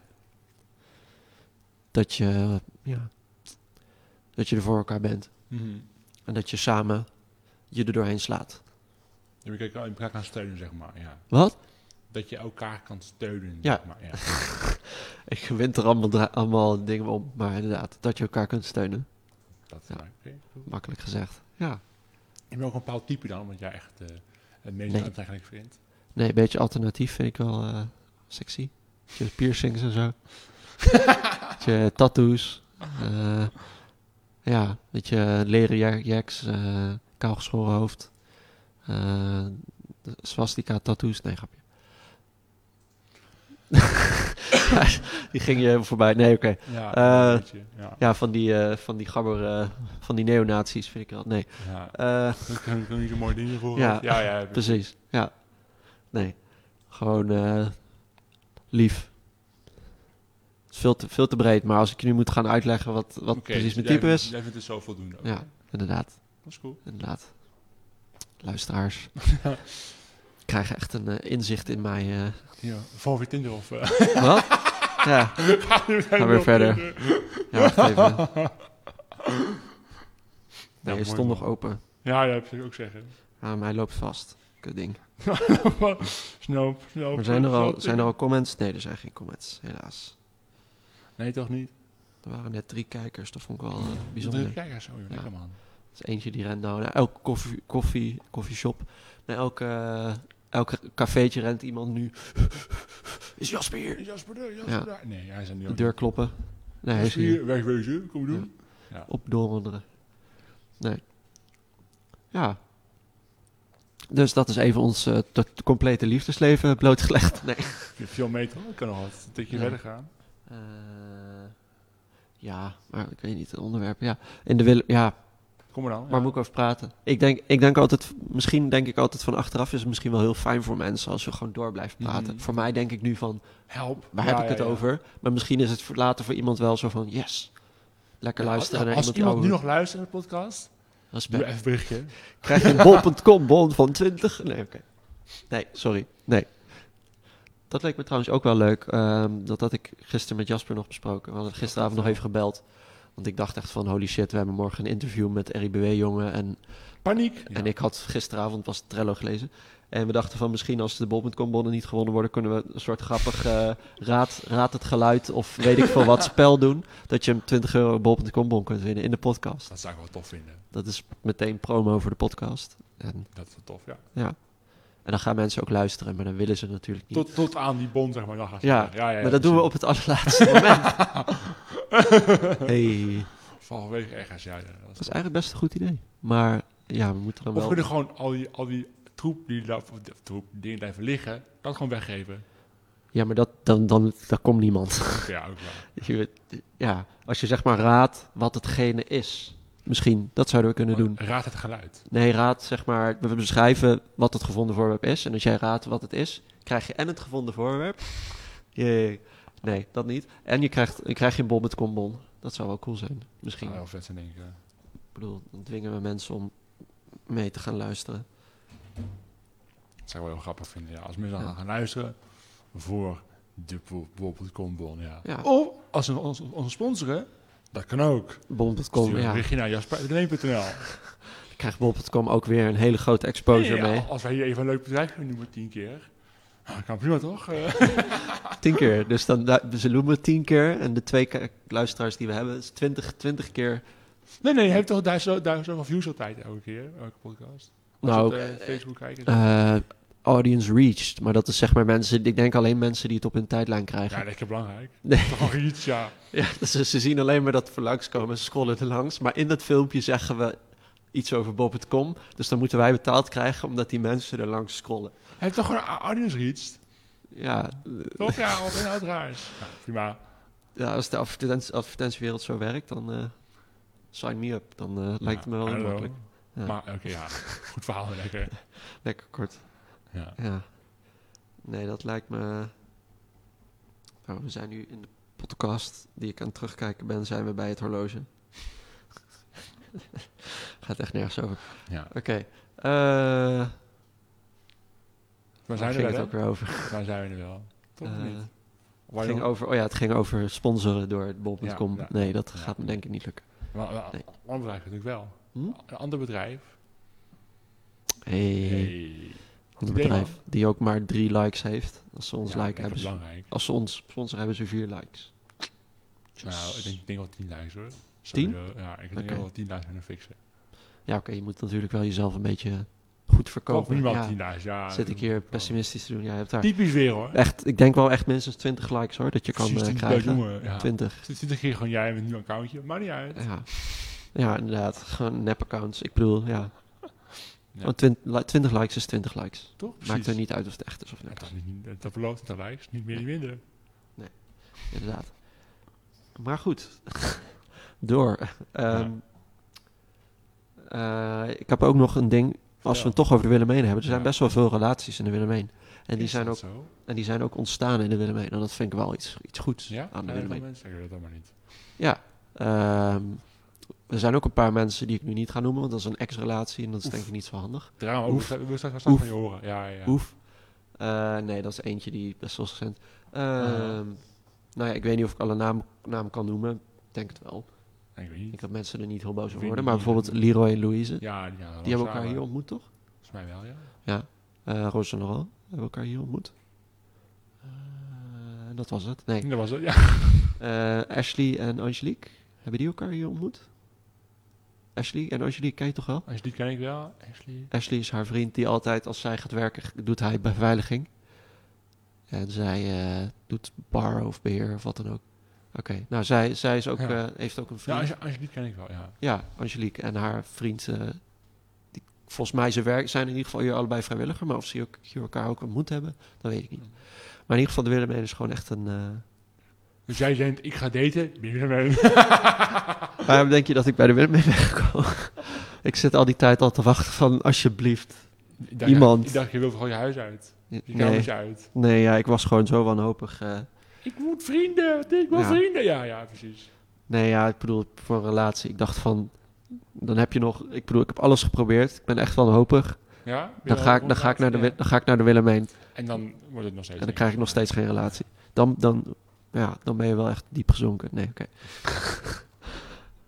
[SPEAKER 1] dat je, ja, dat je er voor elkaar bent.
[SPEAKER 3] Mhm.
[SPEAKER 1] En dat je samen je er doorheen slaat.
[SPEAKER 3] Je moet elkaar- elkaar gaan steunen, zeg maar. Ja.
[SPEAKER 1] Wat?
[SPEAKER 3] Dat je elkaar kan steunen,
[SPEAKER 1] Ja.
[SPEAKER 3] zeg maar. Ja.
[SPEAKER 1] Ik wint er allemaal, dra- allemaal dingen om, maar inderdaad, dat je elkaar kunt steunen.
[SPEAKER 3] Dat is
[SPEAKER 1] Ja.
[SPEAKER 3] waar, oké.
[SPEAKER 1] Makkelijk gezegd. Ja.
[SPEAKER 3] Je bent ook een bepaald type dan, wat jij echt eh, het meest
[SPEAKER 1] Nee.
[SPEAKER 3] aantrekkelijk vindt.
[SPEAKER 1] Nee, een beetje alternatief vind ik wel eh, sexy. Je piercings en zo. je tattoos. eh, ja, weet je, leren ja- jacks, eh kaalgeschoren hoofd. eh, de swastika tattoos. Nee, grapje. <laughs> die ging je voorbij. Nee, oké.
[SPEAKER 3] Ja,
[SPEAKER 1] Eh,
[SPEAKER 3] een beetje, ja.
[SPEAKER 1] Ja, van die, eh, van die gabber, eh, van die neonazies vind ik wel. Nee,
[SPEAKER 3] ja.
[SPEAKER 1] Eh,
[SPEAKER 3] Dat kan ik niet zo'n mooi ding voor.
[SPEAKER 1] Ja. Dus, eh,
[SPEAKER 3] Ja,
[SPEAKER 1] <laughs>
[SPEAKER 3] ja, ja.
[SPEAKER 1] precies. Ja, nee. Gewoon eh, lief. Het is veel te, veel te breed, maar als ik je nu moet gaan uitleggen wat, wat
[SPEAKER 3] Oké, dus
[SPEAKER 1] precies mijn
[SPEAKER 3] jij
[SPEAKER 1] type
[SPEAKER 3] vindt-
[SPEAKER 1] is.
[SPEAKER 3] Jij vindt het zo voldoende. ook.
[SPEAKER 1] Ja, inderdaad.
[SPEAKER 3] Dat is cool.
[SPEAKER 1] Inderdaad.
[SPEAKER 3] <laughs>
[SPEAKER 1] Luisteraars. Krijgen echt een eh, inzicht in mij. eh.
[SPEAKER 3] Ja, voor weer Tinder of... eh, <laughs>
[SPEAKER 1] wat? Ja, gaan weer verder. Ja, wacht
[SPEAKER 3] <laughs>
[SPEAKER 1] even. Nee,
[SPEAKER 3] mooi
[SPEAKER 1] je stond
[SPEAKER 3] man.
[SPEAKER 1] nog open.
[SPEAKER 3] ja, dat heb ik ook zeggen.
[SPEAKER 1] Ah, maar hij loopt vast. Kut ding.
[SPEAKER 3] Snoop, snoop.
[SPEAKER 1] Maar zijn er,
[SPEAKER 3] snoop,
[SPEAKER 1] al,
[SPEAKER 3] snoop.
[SPEAKER 1] zijn er al comments? Nee, er zijn geen comments, helaas.
[SPEAKER 3] Nee, toch niet?
[SPEAKER 1] Er waren net drie kijkers, dat vond ik wel eh,
[SPEAKER 3] Bijzonder.
[SPEAKER 1] bijzonder.
[SPEAKER 3] Kijk eens, oh, joh, lekker man.
[SPEAKER 1] Er is eentje die rent nou naar elke koffie, koffie, koffieshop. Naar elke, eh, elke cafeetje rent iemand nu. <laughs> Is Jasper hier?
[SPEAKER 3] Jasper, daar, Jasper, daar. Nee, hij is er niet.
[SPEAKER 1] De deur kloppen. Nee, hij is
[SPEAKER 3] Jasper
[SPEAKER 1] hier.
[SPEAKER 3] hier, wegwezen, kom je doen.
[SPEAKER 1] Op doorwandelen. Nee. Ja. Dus dat is even ons eh, tot- complete liefdesleven blootgelegd. Nee.
[SPEAKER 3] Ik heb Veel meter, ik kan nog wat. Een tikje
[SPEAKER 1] Ja.
[SPEAKER 3] verder gaan.
[SPEAKER 1] Eh, ja, maar ik weet niet, het onderwerp. Ja, in de wil ja
[SPEAKER 3] Kom maar dan.
[SPEAKER 1] waar moet ik over praten? Ik denk, ik denk altijd, misschien denk ik altijd van achteraf is het misschien wel heel fijn voor mensen als je gewoon door blijft praten.
[SPEAKER 3] Mhm.
[SPEAKER 1] Voor mij denk ik nu van,
[SPEAKER 3] Help.
[SPEAKER 1] waar heb ik het over? Maar misschien is het voor- later voor iemand wel zo van, yes, lekker luisteren naar
[SPEAKER 3] Als
[SPEAKER 1] iemand,
[SPEAKER 3] iemand nu
[SPEAKER 1] ouder.
[SPEAKER 3] nog luistert naar de podcast, doe
[SPEAKER 1] Respect.
[SPEAKER 3] even een berichtje.
[SPEAKER 1] Krijg je
[SPEAKER 3] <laughs>
[SPEAKER 1] een bol.com bon van 20? Nee, oké. Nee, sorry. Nee. Dat leek me trouwens ook wel leuk. ehm, dat had ik gisteren met Jasper nog besproken. We hadden gisteravond nog even gebeld. Want ik dacht echt van, holy shit, we hebben morgen een interview met RIBW-jongen. En
[SPEAKER 3] Paniek.
[SPEAKER 1] En ik had gisteravond pas Trello gelezen. En we dachten van misschien als de bol.com bonnen niet gewonnen worden, kunnen we een soort grappig eh, raad, raad het geluid of weet ik veel
[SPEAKER 3] <laughs>
[SPEAKER 1] wat spel doen. Dat je hem 20 euro bol.com bon kunt winnen in de podcast.
[SPEAKER 3] Dat zou ik wel tof vinden.
[SPEAKER 1] Dat is meteen promo voor de podcast. En
[SPEAKER 3] Dat is wel tof, ja.
[SPEAKER 1] ja, En dan gaan mensen ook luisteren, maar dan willen ze natuurlijk niet.
[SPEAKER 3] Tot, tot aan die bon, zeg maar. Dan gaan ze
[SPEAKER 1] Ja,
[SPEAKER 3] zeggen, ja, ja,
[SPEAKER 1] maar dat doen we op het
[SPEAKER 3] <laughs>
[SPEAKER 1] allerlaatste moment. Hey.
[SPEAKER 3] Vanwege ergens, ja. ja, dat is-
[SPEAKER 1] Dat is eigenlijk best een goed idee. Maar ja, we moeten dan
[SPEAKER 3] Of we
[SPEAKER 1] wel...
[SPEAKER 3] kunnen gewoon al die, al die troep die daar, of die troep, dingen blijven liggen, dat gewoon weggeven.
[SPEAKER 1] Ja, maar dat, dan, dan, dan komt niemand.
[SPEAKER 3] Ja, ook wel.
[SPEAKER 1] Je weet- ja, als je zeg maar raadt wat hetgene is. Misschien, dat zouden we kunnen doen.
[SPEAKER 3] Raad het geluid.
[SPEAKER 1] Nee, raad zeg maar... We beschrijven wat het gevonden voorwerp is. En als jij raadt wat het is, krijg je en het gevonden voorwerp. Jee. Nee, dat niet. En je krijgt, je krijgt een bon met bonbon. Dat zou wel cool zijn, misschien.
[SPEAKER 3] Gaan wel vet zijn, denk ik. ja.
[SPEAKER 1] Ik bedoel, dan dwingen we mensen om mee te gaan luisteren.
[SPEAKER 3] Dat zou ik wel heel grappig vinden, ja. Als mensen dan gaan luisteren voor de bol.com bon, ja.
[SPEAKER 1] Ja.
[SPEAKER 3] Of als ze ons, ons sponsoren, dat kan ook.
[SPEAKER 1] Bol.com,
[SPEAKER 3] Stuur een
[SPEAKER 1] ja.
[SPEAKER 3] berichtje naar jasper.nl.
[SPEAKER 1] Krijgt Bol.com ook weer een hele grote exposure
[SPEAKER 3] Ja,
[SPEAKER 1] mee.
[SPEAKER 3] Als wij hier even een leuk bedrijf kunnen noemen tien keer. Nou, dat kan prima, toch? Eh,
[SPEAKER 1] Tien keer. Dus dan lu- ze noemen het tien keer. En de twee ke- luisteraars die we hebben, is twintig, twintig keer.
[SPEAKER 3] nee, nee, je hebt toch duizend, duizend zoveel views altijd elke keer, elke podcast. Als
[SPEAKER 1] Nou,
[SPEAKER 3] je op eh, Facebook kijken.
[SPEAKER 1] eh, audience reached. Maar dat is zeg maar mensen, ik denk alleen mensen die het op hun tijdlijn krijgen.
[SPEAKER 3] ja, lekker belangrijk.
[SPEAKER 1] eh. Nee.
[SPEAKER 3] Toch wel iets, ja.
[SPEAKER 1] <laughs> Ja, dus ze, ze zien alleen maar dat we langskomen. Ze scrollen er langs. Maar in dat filmpje zeggen we iets over Bob.com. Dus dan moeten wij betaald krijgen omdat die mensen er langs scrollen.
[SPEAKER 3] Hij heeft toch gewoon een audience reached?
[SPEAKER 1] Ja,
[SPEAKER 3] Toch? Ja, of inhoud raars. Nou, prima.
[SPEAKER 1] Ja, als de advertentie- advertentiewereld zo werkt, dan eh, sign me up. Dan eh, lijkt het me wel
[SPEAKER 3] Ja, I
[SPEAKER 1] heel
[SPEAKER 3] don't
[SPEAKER 1] makkelijk.
[SPEAKER 3] know.
[SPEAKER 1] Ja.
[SPEAKER 3] Maar oké, ja. Goed verhaal, lekker.
[SPEAKER 1] Lekker kort.
[SPEAKER 3] Ja.
[SPEAKER 1] Ja. Nee, dat lijkt me. Oh, we zijn nu in de podcast die ik aan het terugkijken ben, zijn we bij het horloge. <laughs> Gaat echt nergens over.
[SPEAKER 3] ja.
[SPEAKER 1] Oké. eh,
[SPEAKER 3] Waar
[SPEAKER 1] waar
[SPEAKER 3] zijn
[SPEAKER 1] ging het
[SPEAKER 3] we wel?
[SPEAKER 1] ook weer over?
[SPEAKER 3] Waar zijn we er wel? Toch of
[SPEAKER 1] Eh,
[SPEAKER 3] niet?
[SPEAKER 1] het
[SPEAKER 3] Waar
[SPEAKER 1] ging
[SPEAKER 3] nog-
[SPEAKER 1] over? Oh ja, het ging over sponsoren door het bol.com.
[SPEAKER 3] Ja, ja.
[SPEAKER 1] nee, dat
[SPEAKER 3] Ja.
[SPEAKER 1] gaat me denk ik niet lukken.
[SPEAKER 3] Maar- maar-
[SPEAKER 1] Nee.
[SPEAKER 3] Een ander bedrijf natuurlijk wel.
[SPEAKER 1] Hm?
[SPEAKER 3] Een ander bedrijf.
[SPEAKER 1] Hey,
[SPEAKER 3] Hey.
[SPEAKER 1] een
[SPEAKER 3] idee,
[SPEAKER 1] bedrijf die ook maar drie likes heeft. Als ze ons
[SPEAKER 3] Ja,
[SPEAKER 1] like
[SPEAKER 3] lekker
[SPEAKER 1] hebben, ze-
[SPEAKER 3] belangrijk.
[SPEAKER 1] Als ze ons sponsor hebben ze vier likes.
[SPEAKER 3] Nou, ik denk, ik denk wel 10 likes hoor.
[SPEAKER 1] Tien?
[SPEAKER 3] Sowieso. Ja, ik denk
[SPEAKER 1] Oké.
[SPEAKER 3] wel 10 likes kunnen fixen.
[SPEAKER 1] Ja, oké, je moet natuurlijk wel jezelf een beetje goed
[SPEAKER 3] Koop
[SPEAKER 1] verkopen.
[SPEAKER 3] minimaal
[SPEAKER 1] Ja,
[SPEAKER 3] 10 likes, ja.
[SPEAKER 1] zit ik hier
[SPEAKER 3] Wel.
[SPEAKER 1] pessimistisch te doen? Ja, je hebt daar
[SPEAKER 3] Typisch weer hoor.
[SPEAKER 1] echt, ik denk wel echt minstens 20 likes hoor, dat je kan eh,
[SPEAKER 3] Precies, 20
[SPEAKER 1] krijgen.
[SPEAKER 3] jongen, ja.
[SPEAKER 1] 20.
[SPEAKER 3] Het is 20 keer gewoon jij met een nieuw accountje. Maakt niet uit.
[SPEAKER 1] Ja. ja, inderdaad. Gewoon nep-accounts. Ik bedoel, ja.
[SPEAKER 3] Ja.
[SPEAKER 1] Want 20, li- 20 likes is 20 likes.
[SPEAKER 3] Toch?
[SPEAKER 1] Maakt er niet uit of het echt is of
[SPEAKER 3] Ja,
[SPEAKER 1] niet.
[SPEAKER 3] dat, is niet, dat belooft de likes, niet meer niet minder.
[SPEAKER 1] Inderdaad. Maar goed. <laughs> Door. Ehm, eh, ik heb ook nog een ding. Als we het toch over de Willemijn hebben. Er zijn
[SPEAKER 3] Ja.
[SPEAKER 1] best wel veel relaties in de Willemijn. En die,
[SPEAKER 3] Is
[SPEAKER 1] zijn
[SPEAKER 3] dat
[SPEAKER 1] ook, Ah,
[SPEAKER 3] Zo?
[SPEAKER 1] en die zijn ook ontstaan in de Willemijn. En dat vind ik wel iets, iets goeds
[SPEAKER 3] Ja,
[SPEAKER 1] aan
[SPEAKER 3] aan
[SPEAKER 1] de Willemijn.
[SPEAKER 3] mensen zeggen dat allemaal niet.
[SPEAKER 1] Ja. Ehm, er zijn ook een paar mensen die ik nu niet ga noemen. Want dat is een ex-relatie. En dat is denk ik niet zo handig.
[SPEAKER 3] Drama,
[SPEAKER 1] Oef.
[SPEAKER 3] oef, we we straks
[SPEAKER 1] Oef.
[SPEAKER 3] van je horen. Ja, ja. ja.
[SPEAKER 1] Oef. Eh, nee, dat is eentje die best wel recent. Ehm,
[SPEAKER 3] Ah.
[SPEAKER 1] Nou ja, ik weet niet of ik alle namen naam kan noemen. Ik denk het wel.
[SPEAKER 3] Ik weet niet.
[SPEAKER 1] Ik dat mensen er niet heel boos
[SPEAKER 3] Ik
[SPEAKER 1] over
[SPEAKER 3] weet
[SPEAKER 1] worden.
[SPEAKER 3] niet
[SPEAKER 1] Maar
[SPEAKER 3] wie dat
[SPEAKER 1] bijvoorbeeld Leroy en Louise.
[SPEAKER 3] Ja, die, gaan wel
[SPEAKER 1] die hebben elkaar
[SPEAKER 3] samen.
[SPEAKER 1] hier ontmoet, toch?
[SPEAKER 3] Volgens mij wel, ja.
[SPEAKER 1] Eh Roos en Laurent hebben elkaar hier ontmoet. Eh, dat was het. Nee.
[SPEAKER 3] Dat was het, ja.
[SPEAKER 1] Eh, Ashley en Angelique. Hebben die elkaar hier ontmoet? Ashley en Angelique, ken je toch wel?
[SPEAKER 3] Ashley ken ik wel. Ashley.
[SPEAKER 1] Ashley is haar vriend die altijd als zij gaat werken, g- doet hij beveiliging. En zij eh, doet bar of beheer of wat dan ook. Oké, nou zij, zij is ook,
[SPEAKER 3] Ja.
[SPEAKER 1] eh, heeft ook een
[SPEAKER 3] Ja,
[SPEAKER 1] vriend.
[SPEAKER 3] Ange- Angelique ken ik wel, ja.
[SPEAKER 1] Ja, Angelique en haar vriend. eh, die, volgens mij ze werk, zijn in ieder geval hier allebei vrijwilliger. Maar of ze hier ook- hier elkaar ook ontmoet hebben, dat weet ik niet.
[SPEAKER 3] Hmm.
[SPEAKER 1] Maar in ieder geval, de Willemijn is gewoon echt een... eh,
[SPEAKER 3] Dus jij denkt, ik ga daten. Ben je er mee?
[SPEAKER 1] Waarom denk je dat ik bij de Willemijn ben gekomen? <laughs> ik zit al die tijd al te wachten van, alsjeblieft.
[SPEAKER 3] Ik dacht,
[SPEAKER 1] Iemand.
[SPEAKER 3] Ik dacht, je wil gewoon je huis uit. Je
[SPEAKER 1] Nee,
[SPEAKER 3] kamers uit.
[SPEAKER 1] nee ja, ik was gewoon zo wanhopig. eh.
[SPEAKER 3] Ik moet vrienden. Ik wil
[SPEAKER 1] Ja.
[SPEAKER 3] vrienden. Ja, ja, precies.
[SPEAKER 1] nee, ja, ik bedoel, voor een relatie. Ik dacht van, dan heb je nog... Ik bedoel, ik heb alles geprobeerd. Ik ben echt wanhopig.
[SPEAKER 3] Ja? Ben je
[SPEAKER 1] Dan
[SPEAKER 3] wel
[SPEAKER 1] ga ik, dan
[SPEAKER 3] contact?
[SPEAKER 1] ga ik, naar, de,
[SPEAKER 3] Ja.
[SPEAKER 1] Wi- dan ga ik naar de Willemijn.
[SPEAKER 3] En dan wordt het nog steeds
[SPEAKER 1] En dan
[SPEAKER 3] niks.
[SPEAKER 1] krijg ik nog steeds geen relatie. Dan, dan, ja, dan ben je wel echt diep gezonken. Nee,
[SPEAKER 3] <laughs>
[SPEAKER 1] oké.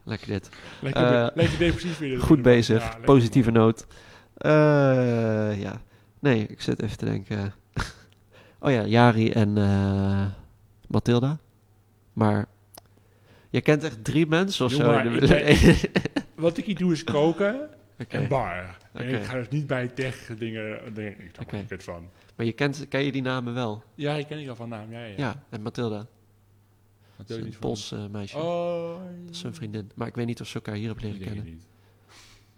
[SPEAKER 1] Lekker dit.
[SPEAKER 3] Lekker,
[SPEAKER 1] Eh,
[SPEAKER 3] lekker depressief weer.
[SPEAKER 1] Goed bezig.
[SPEAKER 3] Ja, lekker.
[SPEAKER 1] Positieve noot. Eh, ja. Nee, ik zit even te denken. <laughs> oh ja, Jari en eh, Mathilda. Maar je kent echt drie mensen of zo.
[SPEAKER 3] Jongen, <laughs>
[SPEAKER 1] in de-
[SPEAKER 3] ik ben- Wat ik hier doe is koken
[SPEAKER 1] <laughs> Oké.
[SPEAKER 3] en bar. En ik ga dus niet bij tech dingen dingen. Ik snap
[SPEAKER 1] Oké.
[SPEAKER 3] er niet kut van.
[SPEAKER 1] Maar je kent, ken je die namen wel?
[SPEAKER 3] Ja, ik ken ik al van naam. Ja, ja.
[SPEAKER 1] Ja, en Mathilda.
[SPEAKER 3] Dat
[SPEAKER 1] Dat is
[SPEAKER 3] wil je
[SPEAKER 1] een
[SPEAKER 3] niet van.
[SPEAKER 1] Pools eh, meisje.
[SPEAKER 3] Oh,
[SPEAKER 1] Dat is zijn vriendin. Maar ik weet niet of ze elkaar hier hebben leren
[SPEAKER 3] ik denk
[SPEAKER 1] kennen.
[SPEAKER 3] het niet.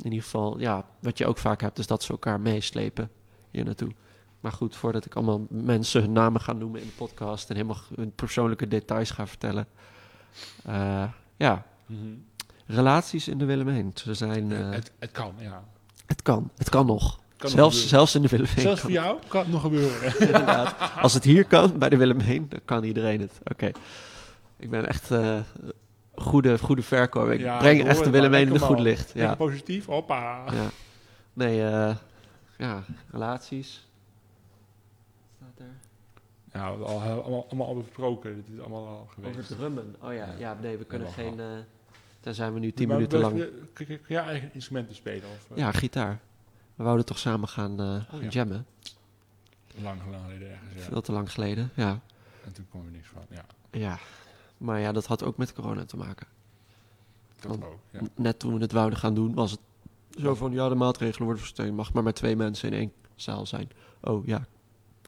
[SPEAKER 1] In ieder geval, ja, wat je ook vaak hebt, is dat ze elkaar meeslepen hier naartoe. Maar goed, voordat ik allemaal mensen hun namen ga noemen in de podcast en helemaal hun persoonlijke details ga vertellen. Eh, ja,
[SPEAKER 3] Mhm.
[SPEAKER 1] relaties in de Willemijn. Ze zijn, eh, het,
[SPEAKER 3] het, het kan, ja.
[SPEAKER 1] kan, het kan nog.
[SPEAKER 3] Kan nog
[SPEAKER 1] zelfs,
[SPEAKER 3] gebeuren.
[SPEAKER 1] zelfs in de Willemijn.
[SPEAKER 3] Zelfs
[SPEAKER 1] kan
[SPEAKER 3] voor jou kan het nog gebeuren.
[SPEAKER 1] het, inderdaad. Als het hier kan, bij de Willemijn, dan kan iedereen het. Oké. Ik ben echt eh, goede, goede verkoop. Ik
[SPEAKER 3] Ja,
[SPEAKER 1] breng
[SPEAKER 3] ik
[SPEAKER 1] echt
[SPEAKER 3] hoor
[SPEAKER 1] de
[SPEAKER 3] het,
[SPEAKER 1] Willemijn in
[SPEAKER 3] maar
[SPEAKER 1] een
[SPEAKER 3] lekker
[SPEAKER 1] goed
[SPEAKER 3] man.
[SPEAKER 1] licht.
[SPEAKER 3] Lekker
[SPEAKER 1] Ja.
[SPEAKER 3] positief, hoppa.
[SPEAKER 1] Ja. Nee, eh, ja, relaties. Wat staat er?
[SPEAKER 3] Ja, we hebben al, eh, allemaal, allemaal al besproken. Dit is allemaal al geweest.
[SPEAKER 1] Over drummen. Oh ja,
[SPEAKER 3] Ja.
[SPEAKER 1] ja nee, we kunnen
[SPEAKER 3] wel
[SPEAKER 1] geen... eh daar zijn we nu tien
[SPEAKER 3] Maar
[SPEAKER 1] minuten
[SPEAKER 3] wel-
[SPEAKER 1] lang.
[SPEAKER 3] Kun kun- kun jij eigen instrumenten spelen? Of, eh,
[SPEAKER 1] Ja, gitaar. We wouden toch samen gaan, eh, gaan
[SPEAKER 3] ja.
[SPEAKER 1] jammen.
[SPEAKER 3] Lang, lang geleden ergens, ja.
[SPEAKER 1] Veel te lang geleden, ja.
[SPEAKER 3] En toen kwam er niks van. Ja,
[SPEAKER 1] Ja. Maar ja, dat had ook met corona te maken.
[SPEAKER 3] dat
[SPEAKER 1] Want-
[SPEAKER 3] ook. Ja.
[SPEAKER 1] N- Net toen we het wouden gaan doen, was het zo van... Ja, de maatregelen worden versteund. Mag maar maar twee mensen in één zaal zijn. Oh ja,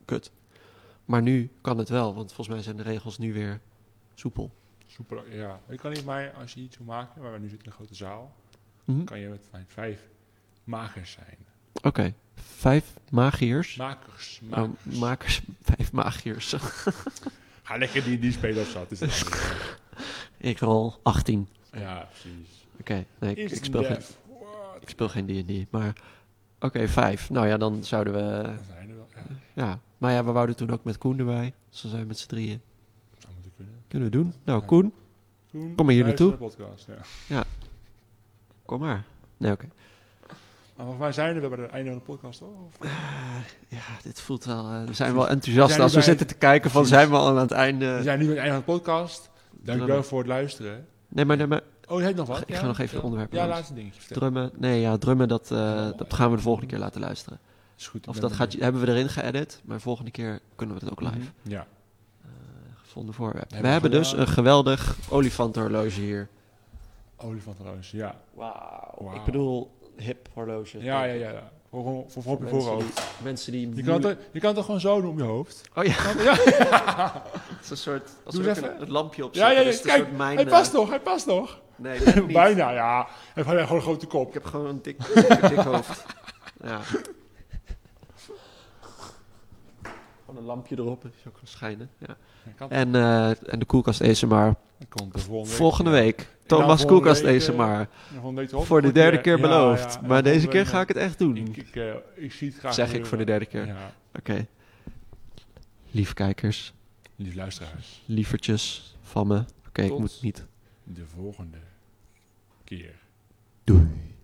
[SPEAKER 1] kut. Maar nu kan het wel, want volgens mij zijn de regels nu weer soepel.
[SPEAKER 3] Super, ja. Ik kan niet, maar als je iets wil maken, waar we nu zitten in een grote zaal,
[SPEAKER 1] Mhm.
[SPEAKER 3] kan je met met vijf makers zijn.
[SPEAKER 1] Oké, vijf magiërs.
[SPEAKER 3] Makers,
[SPEAKER 1] Oh,
[SPEAKER 3] makers.
[SPEAKER 1] makers, <laughs> vijf magiërs. <laughs>
[SPEAKER 3] Ga lekker die, die spelen op zat. Is dat niet?
[SPEAKER 1] ik rol 18.
[SPEAKER 3] ja, precies.
[SPEAKER 1] Oké, nee, ik, ik
[SPEAKER 3] Instant
[SPEAKER 1] speel geen,
[SPEAKER 3] death. What?
[SPEAKER 1] ik speel geen D&D, maar... Oké, vijf. Nou ja, dan zouden we...
[SPEAKER 3] Dat zijn er wel. Ja,
[SPEAKER 1] Ja, maar ja, we wouden toen ook met Koen erbij. Dus dan zijn we met z'n drieën.
[SPEAKER 3] dat zou moeten kunnen.
[SPEAKER 1] Kunnen we doen. Nou,
[SPEAKER 3] Ja.
[SPEAKER 1] Koen,
[SPEAKER 3] Toen,
[SPEAKER 1] Kom maar hier
[SPEAKER 3] luister
[SPEAKER 1] naartoe.
[SPEAKER 3] naar de Podcast, ja.
[SPEAKER 1] kom maar. Nee, oké.
[SPEAKER 3] Maar volgens mij zijn we wel bij het einde van de podcast, toch? Of-
[SPEAKER 1] Eh, ja, dit voelt wel... eh, we zijn wel enthousiast
[SPEAKER 3] zijn
[SPEAKER 1] als we
[SPEAKER 3] nu bij-
[SPEAKER 1] zitten te kijken van...
[SPEAKER 3] Precies.
[SPEAKER 1] Zijn we al aan het
[SPEAKER 3] We
[SPEAKER 1] einde?
[SPEAKER 3] zijn nu aan het einde van de podcast. Dankjewel
[SPEAKER 1] Drummen.
[SPEAKER 3] voor het luisteren.
[SPEAKER 1] Nee, maar, nee, maar
[SPEAKER 3] Oh, je hebt nog wat?
[SPEAKER 1] Ik ga nog even
[SPEAKER 3] ja.
[SPEAKER 1] onderwerpen
[SPEAKER 3] Ja,
[SPEAKER 1] langs.
[SPEAKER 3] laatste dingetje vertellen.
[SPEAKER 1] drummen... Nee, ja, drummen, dat, eh, dat gaan we de volgende keer laten luisteren.
[SPEAKER 3] Is goed. ik
[SPEAKER 1] Of
[SPEAKER 3] ben
[SPEAKER 1] dat Mhm. gaat,
[SPEAKER 3] benieuwd.
[SPEAKER 1] hebben we erin geëdit, maar volgende keer kunnen we het ook live.
[SPEAKER 3] Ja.
[SPEAKER 1] gevonden voorwerp.
[SPEAKER 3] Hebben
[SPEAKER 1] we
[SPEAKER 3] we
[SPEAKER 1] hebben dus
[SPEAKER 3] gedaan.
[SPEAKER 1] een geweldig olifantenhorloge hier.
[SPEAKER 3] Olifantenroos, ja.
[SPEAKER 1] Wauw.
[SPEAKER 3] Wauw.
[SPEAKER 1] Ik bedoel, hip horloge.
[SPEAKER 3] Ja, ja, ja. ja. Voor, voor, voor, voor op je
[SPEAKER 1] Mensen
[SPEAKER 3] voorhoofd.
[SPEAKER 1] die- mensen die...
[SPEAKER 3] Je kan, het, je kan het toch gewoon zo doen om je hoofd?
[SPEAKER 1] Oh ja,
[SPEAKER 3] Ja,
[SPEAKER 1] het is een soort... Als
[SPEAKER 3] Doe
[SPEAKER 1] we
[SPEAKER 3] eens
[SPEAKER 1] ook
[SPEAKER 3] even.
[SPEAKER 1] een- het lampje
[SPEAKER 3] ja,
[SPEAKER 1] opzetten,
[SPEAKER 3] ja,
[SPEAKER 1] is
[SPEAKER 3] ja.
[SPEAKER 1] het een
[SPEAKER 3] Kijk,
[SPEAKER 1] soort mijn...
[SPEAKER 3] hij
[SPEAKER 1] eh,
[SPEAKER 3] past nog, hij past nog.
[SPEAKER 1] <laughs> Nee,
[SPEAKER 3] <laughs>
[SPEAKER 1] net niet.
[SPEAKER 3] Bijna, ja. Hij heeft gewoon een grote
[SPEAKER 1] Ik
[SPEAKER 3] kop.
[SPEAKER 1] heb gewoon een dik, dik, dik hoofd. Ja. Gewoon een lampje erop, is ook gaan schijnen. Ja.
[SPEAKER 3] Hij kan-
[SPEAKER 1] En, eh, en de koelkast ASMR.
[SPEAKER 3] Hij komt de volgende week.
[SPEAKER 1] Volgende
[SPEAKER 3] Ja.
[SPEAKER 1] week,
[SPEAKER 3] Ja,
[SPEAKER 1] Thomas
[SPEAKER 3] volgende
[SPEAKER 1] Koelkast
[SPEAKER 3] week, eh,
[SPEAKER 1] ASMR.
[SPEAKER 3] En de volgende week erop.
[SPEAKER 1] Voor de
[SPEAKER 3] Volgende
[SPEAKER 1] derde keer
[SPEAKER 3] ja,
[SPEAKER 1] beloofd.
[SPEAKER 3] ja. En
[SPEAKER 1] maar deze
[SPEAKER 3] volgende
[SPEAKER 1] keer
[SPEAKER 3] week,
[SPEAKER 1] ga ik het echt doen.
[SPEAKER 3] Ik, ik, eh, ik zie het graag.
[SPEAKER 1] Zeg ik voor de derde keer.
[SPEAKER 3] gebeuren. Ja.
[SPEAKER 1] Oké. Lief kijkers,
[SPEAKER 3] Lieve luisteraars,
[SPEAKER 1] lievertjes van me. Oké, ik
[SPEAKER 3] Tot.
[SPEAKER 1] moet niet.
[SPEAKER 3] de volgende keer.
[SPEAKER 1] Doei.